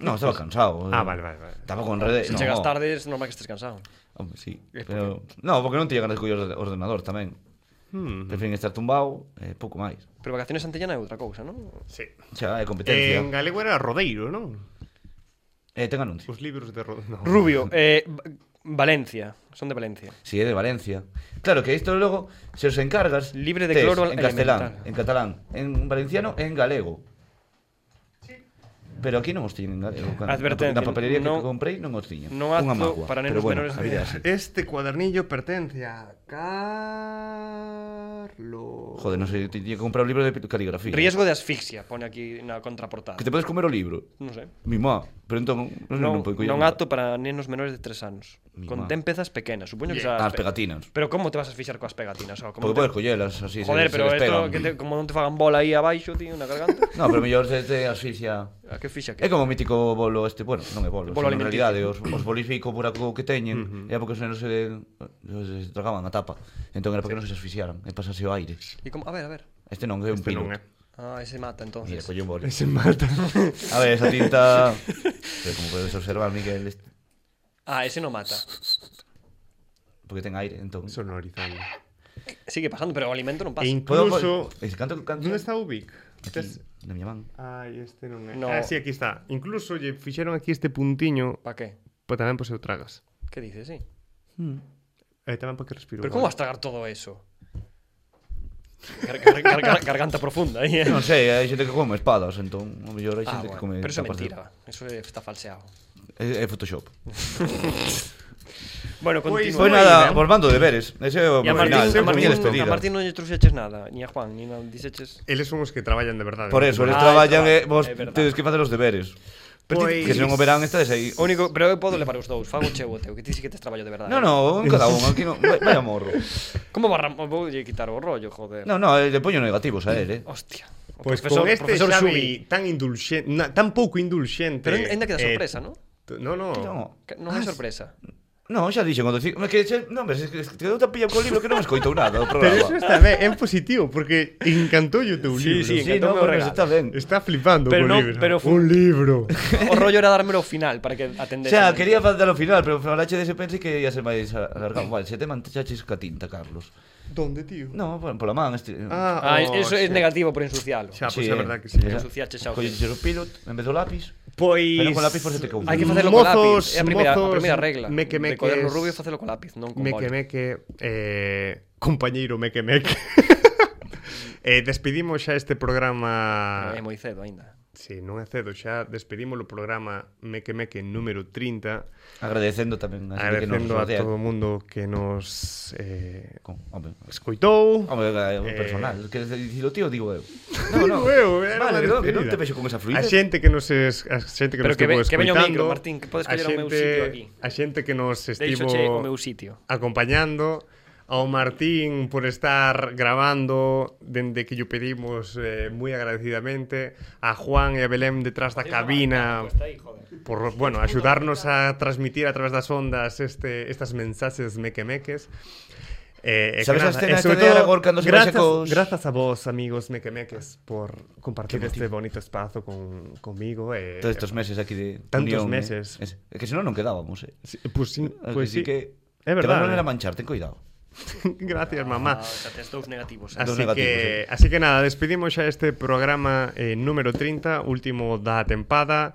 [SPEAKER 2] No, estaba cansado.
[SPEAKER 1] Ah, vale, vale, vale.
[SPEAKER 2] Estaba con redes.
[SPEAKER 3] Se
[SPEAKER 2] no.
[SPEAKER 3] chegas tarde, é normal que estés cansado.
[SPEAKER 2] Hombre, sí.
[SPEAKER 1] Eh,
[SPEAKER 3] Es
[SPEAKER 2] Pero... No, porque non te ganas co ordenador tamén.
[SPEAKER 1] Hmm.
[SPEAKER 2] Prefiren estar tumbado, eh, pouco máis.
[SPEAKER 3] Pero vacaciones Santillana é outra cousa, non?
[SPEAKER 1] Sí.
[SPEAKER 2] Xa, é competencia.
[SPEAKER 1] En galego era Rodeiro, non?
[SPEAKER 2] Eh, ten anuncio.
[SPEAKER 1] Os libros de Rodeiro. No.
[SPEAKER 3] Rubio, eh, Va- Valencia. Son de Valencia.
[SPEAKER 2] Si, é de Valencia. Claro que isto logo, se os encargas...
[SPEAKER 3] Libre de
[SPEAKER 2] tes
[SPEAKER 3] cloro
[SPEAKER 2] En castelán,
[SPEAKER 3] elemental.
[SPEAKER 2] en catalán, en valenciano e en galego. Pero aquí non os tiñen en galego. Cando-
[SPEAKER 3] Advertencia,
[SPEAKER 2] Na papelería
[SPEAKER 3] non-
[SPEAKER 2] que comprei non os tiñen.
[SPEAKER 3] non apto
[SPEAKER 2] Unha magua.
[SPEAKER 3] para nenos
[SPEAKER 2] Pero bueno,
[SPEAKER 3] menores de
[SPEAKER 2] a vida é
[SPEAKER 3] edad.
[SPEAKER 2] así.
[SPEAKER 1] Este cuadernillo pertence a Carlos.
[SPEAKER 2] Joder, non sei, tiña que comprar un libro de caligrafía.
[SPEAKER 3] Riesgo de asfixia, pone aquí na contraportada.
[SPEAKER 2] Que te podes comer o libro.
[SPEAKER 3] Non sei.
[SPEAKER 2] Mi má. Pero entón, non,
[SPEAKER 3] Non,
[SPEAKER 2] non, non,
[SPEAKER 3] non apto para nenos menores de 3 anos.
[SPEAKER 2] Mi
[SPEAKER 3] Con
[SPEAKER 2] má.
[SPEAKER 3] ten pezas pequenas, supoño que xa
[SPEAKER 2] As pegatinas.
[SPEAKER 3] Pero como te vas a asfixiar coas pegatinas? O, como
[SPEAKER 2] Porque podes collelas así, se-
[SPEAKER 3] Joder,
[SPEAKER 2] se
[SPEAKER 3] pero esto,
[SPEAKER 2] les pegan.
[SPEAKER 3] que te, como non te fagan bola aí abaixo, tío, na
[SPEAKER 2] *laughs*
[SPEAKER 3] garganta.
[SPEAKER 2] No, pero mellor te, te asfixia.
[SPEAKER 3] A que fixa que?
[SPEAKER 2] É como o mítico bolo este, bueno, non é bolo,
[SPEAKER 3] Bolo
[SPEAKER 2] bolo en
[SPEAKER 3] alimenticio.
[SPEAKER 2] realidade os, os bolis fico por acu que teñen, uh -huh. era porque os nenos se, se tragaban a tapa. Entón era para que non se asfixiaran, e pasase o aire.
[SPEAKER 3] E como, a ver, a ver.
[SPEAKER 2] Este non é un
[SPEAKER 1] Este
[SPEAKER 2] pilo.
[SPEAKER 1] non é.
[SPEAKER 3] Ah, ese mata
[SPEAKER 2] Mira,
[SPEAKER 3] entonces.
[SPEAKER 2] colle un boli.
[SPEAKER 1] Se mata.
[SPEAKER 2] A ver, esa tinta... pero como podes observar, Miguel, este...
[SPEAKER 3] Ah, ese no mata.
[SPEAKER 2] porque ten aire,
[SPEAKER 1] *laughs*
[SPEAKER 2] entón...
[SPEAKER 1] Sonorizando.
[SPEAKER 3] Sigue pasando, pero o alimento non pasa.
[SPEAKER 1] E
[SPEAKER 2] Podo-
[SPEAKER 1] incluso.
[SPEAKER 2] podo- Ese Eh, canto que canto...
[SPEAKER 1] ¿Dónde está Ubik?
[SPEAKER 2] Aquí, na miña man.
[SPEAKER 1] Ai, este non é.
[SPEAKER 3] No.
[SPEAKER 1] Ah, sí, aquí está. Incluso lle fixeron aquí este puntiño
[SPEAKER 3] Pa qué?
[SPEAKER 1] pa tamén por se o tragas.
[SPEAKER 3] Que dices, sí?
[SPEAKER 1] E tamén para Eh, que respiro.
[SPEAKER 3] Pero como vas a tragar todo eso? Gar- gar- gar- gar- garganta profunda aí, eh?
[SPEAKER 2] Non sei, hai xente que come espadas, entón, o mellor hai
[SPEAKER 3] Ah,
[SPEAKER 2] xente que come...
[SPEAKER 3] bueno, pero eso é
[SPEAKER 2] tapas de-
[SPEAKER 3] mentira. Eso é- está falseado.
[SPEAKER 2] É, é Photoshop.
[SPEAKER 3] Bueno,
[SPEAKER 1] Pois-
[SPEAKER 3] continúa.
[SPEAKER 2] Pois
[SPEAKER 1] Bueno,
[SPEAKER 2] nada,
[SPEAKER 1] ben.
[SPEAKER 2] volvando deberes. Ese é o
[SPEAKER 3] E a Martín,
[SPEAKER 1] Martín,
[SPEAKER 2] final,
[SPEAKER 3] a
[SPEAKER 2] a miña
[SPEAKER 3] Martín,
[SPEAKER 2] despedida.
[SPEAKER 3] a Martín non lle trouxeches nada, ni a Juan, ni a dixeches.
[SPEAKER 1] Eles son os que traballan de verdade.
[SPEAKER 2] Por eso, eles
[SPEAKER 3] Ah,
[SPEAKER 2] traballan
[SPEAKER 3] é
[SPEAKER 2] e vos
[SPEAKER 3] verdade, é verdade.
[SPEAKER 2] tedes que facer os deberes.
[SPEAKER 1] Pois-
[SPEAKER 2] Que se non o verán estades aí.
[SPEAKER 3] O único, pero eu podo levar os dous, fago cheo o teu, que ti si que tes traballo de verdade.
[SPEAKER 2] No, no, un cada un, aquí non, vai- vai a morro.
[SPEAKER 3] Como barra, vou lle quitar o rollo, joder.
[SPEAKER 2] No, no, eh, le poño negativos a él, eh.
[SPEAKER 3] Hostia. O
[SPEAKER 1] Pois
[SPEAKER 3] profesor-
[SPEAKER 1] con este
[SPEAKER 3] profesor
[SPEAKER 1] Xavi
[SPEAKER 3] Xubi.
[SPEAKER 1] tan indulxente, na, tan pouco indulxente.
[SPEAKER 3] Pero ainda
[SPEAKER 1] eh,
[SPEAKER 3] queda sorpresa, non?
[SPEAKER 1] t- No, no.
[SPEAKER 2] No.
[SPEAKER 3] Que Non é
[SPEAKER 1] Ah,
[SPEAKER 3] sorpresa.
[SPEAKER 2] No, xa dixen cando dixen, que che, non, pero es que es que te dou tapilla co libro que non escoitou
[SPEAKER 3] *laughs*
[SPEAKER 2] nada do
[SPEAKER 1] Pero eso
[SPEAKER 2] programa.
[SPEAKER 1] está ben, é positivo, porque encantou o teu libro.
[SPEAKER 3] sí,
[SPEAKER 2] Sí,
[SPEAKER 3] encantoume
[SPEAKER 2] no,
[SPEAKER 3] o
[SPEAKER 2] bueno,
[SPEAKER 3] regalo.
[SPEAKER 2] está ben.
[SPEAKER 1] Está flipando co
[SPEAKER 3] Pero no,
[SPEAKER 1] libro.
[SPEAKER 3] pero fu-
[SPEAKER 1] Un libro.
[SPEAKER 3] O rollo era dármelo ao final para que
[SPEAKER 2] O
[SPEAKER 3] atendese.
[SPEAKER 2] sea, quería faltar ao final, pero falache dese pensei que ia ser máis alargado. Vale, se te manchaches ca tinta, Carlos.
[SPEAKER 1] Donde, tío?
[SPEAKER 2] No, po- pola man, este... Oh,
[SPEAKER 3] Ah, eso é negativo por ensucialo.
[SPEAKER 1] Xa, pois a verdad que sí.
[SPEAKER 3] Esa- Ensuciaches xa o
[SPEAKER 2] Colleches eh, o pilot, en vez do lápiz.
[SPEAKER 1] Pois
[SPEAKER 2] Pero con lápiz por sete que un.
[SPEAKER 3] Hai que facelo co
[SPEAKER 1] Mozos,
[SPEAKER 3] lápiz, é a primeira, a
[SPEAKER 1] mozos,
[SPEAKER 3] primeira regla.
[SPEAKER 1] meque,
[SPEAKER 3] de
[SPEAKER 1] meques.
[SPEAKER 3] cuaderno rubio facelo co lápiz, non con
[SPEAKER 1] Meque,
[SPEAKER 3] boli.
[SPEAKER 1] meque, eh, compañeiro meque, meque.
[SPEAKER 3] *laughs*
[SPEAKER 1] eh, despedimos xa este programa...
[SPEAKER 3] É moi cedo Eh, aínda.
[SPEAKER 1] Si, sí, non é cedo, xa despedimos o programa Meque Meque número 30
[SPEAKER 2] Agradecendo tamén a xente que
[SPEAKER 1] Agradecendo
[SPEAKER 2] nos
[SPEAKER 1] a
[SPEAKER 2] rodea.
[SPEAKER 1] todo o mundo que nos eh,
[SPEAKER 2] Con, hombre,
[SPEAKER 1] escoitou *laughs*
[SPEAKER 2] Hombre, é un
[SPEAKER 1] Eh,
[SPEAKER 2] personal, que dicilo tío, digo eh, eu.
[SPEAKER 1] Digo eu, era
[SPEAKER 2] Vale,
[SPEAKER 1] unha
[SPEAKER 2] no, que non
[SPEAKER 1] despedida.
[SPEAKER 2] te vexo con esa
[SPEAKER 1] A
[SPEAKER 2] fluidez.
[SPEAKER 1] xente que nos es, a xente que
[SPEAKER 3] Pero
[SPEAKER 1] nos
[SPEAKER 3] que ve-
[SPEAKER 1] estivo
[SPEAKER 3] que veña o
[SPEAKER 1] escoitando,
[SPEAKER 3] micro, Martín, que podes
[SPEAKER 1] a
[SPEAKER 3] coller o meu
[SPEAKER 1] xente-
[SPEAKER 3] sitio aquí.
[SPEAKER 1] A xente que nos estivo
[SPEAKER 3] Deixoche o meu sitio.
[SPEAKER 1] acompañando ao Martín por estar grabando dende que lle pedimos eh, moi agradecidamente a Juan e a Belén detrás da cabina por, bueno, axudarnos a transmitir a través das ondas este, estas mensaxes mequemeques Eh, eh,
[SPEAKER 2] Sabes
[SPEAKER 1] que
[SPEAKER 2] a este
[SPEAKER 1] nada, eh,
[SPEAKER 2] escena
[SPEAKER 1] sobre todo,
[SPEAKER 2] esta de Aragorn cando se
[SPEAKER 1] gracias,
[SPEAKER 2] vaya cos-
[SPEAKER 1] gracias a vos, amigos mequemeques, por compartir este bonito espazo con, conmigo. Eh,
[SPEAKER 2] Todos estos meses aquí de
[SPEAKER 1] Tantos
[SPEAKER 2] unión, eh.
[SPEAKER 1] meses.
[SPEAKER 2] Es, é que senón non quedábamos, eh.
[SPEAKER 1] Sí, pues sí,
[SPEAKER 2] Así
[SPEAKER 1] pues sí. eh.
[SPEAKER 2] que
[SPEAKER 1] É
[SPEAKER 2] Te van a
[SPEAKER 1] verdade.
[SPEAKER 2] volver a manchar, ten cuidado.
[SPEAKER 1] *laughs* Gracias, mamá.
[SPEAKER 3] Ah, xa tes dous negativos. eh.
[SPEAKER 1] Así
[SPEAKER 2] Dos negativos,
[SPEAKER 1] que,
[SPEAKER 2] eh.
[SPEAKER 1] así que nada, despedimos xa este programa eh, número 30, último da tempada,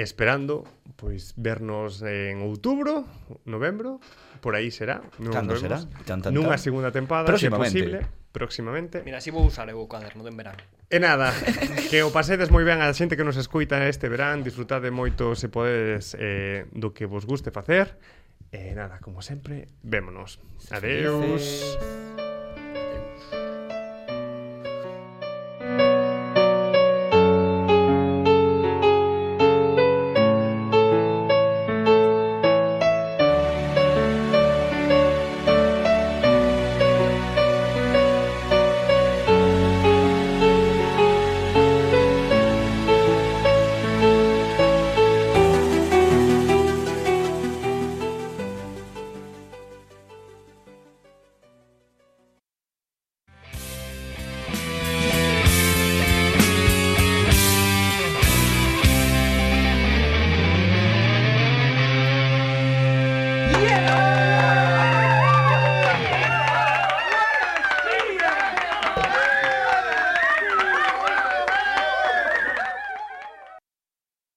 [SPEAKER 1] esperando pois vernos en outubro, novembro, por aí será. Non
[SPEAKER 2] Cando
[SPEAKER 1] nos vemos.
[SPEAKER 2] será? Tan, tan,
[SPEAKER 1] Nunha
[SPEAKER 2] tan.
[SPEAKER 1] segunda tempada, se
[SPEAKER 2] Próximamente.
[SPEAKER 1] posible, próximamente.
[SPEAKER 3] Mira, así vou usar eu o caderno de en verano.
[SPEAKER 1] E nada, *laughs* que o pasedes moi ben a xente que nos escoita este verán, disfrutade moito se podedes eh, do que vos guste facer. E nada, como sempre, vémonos. Adeus.
[SPEAKER 2] Felices.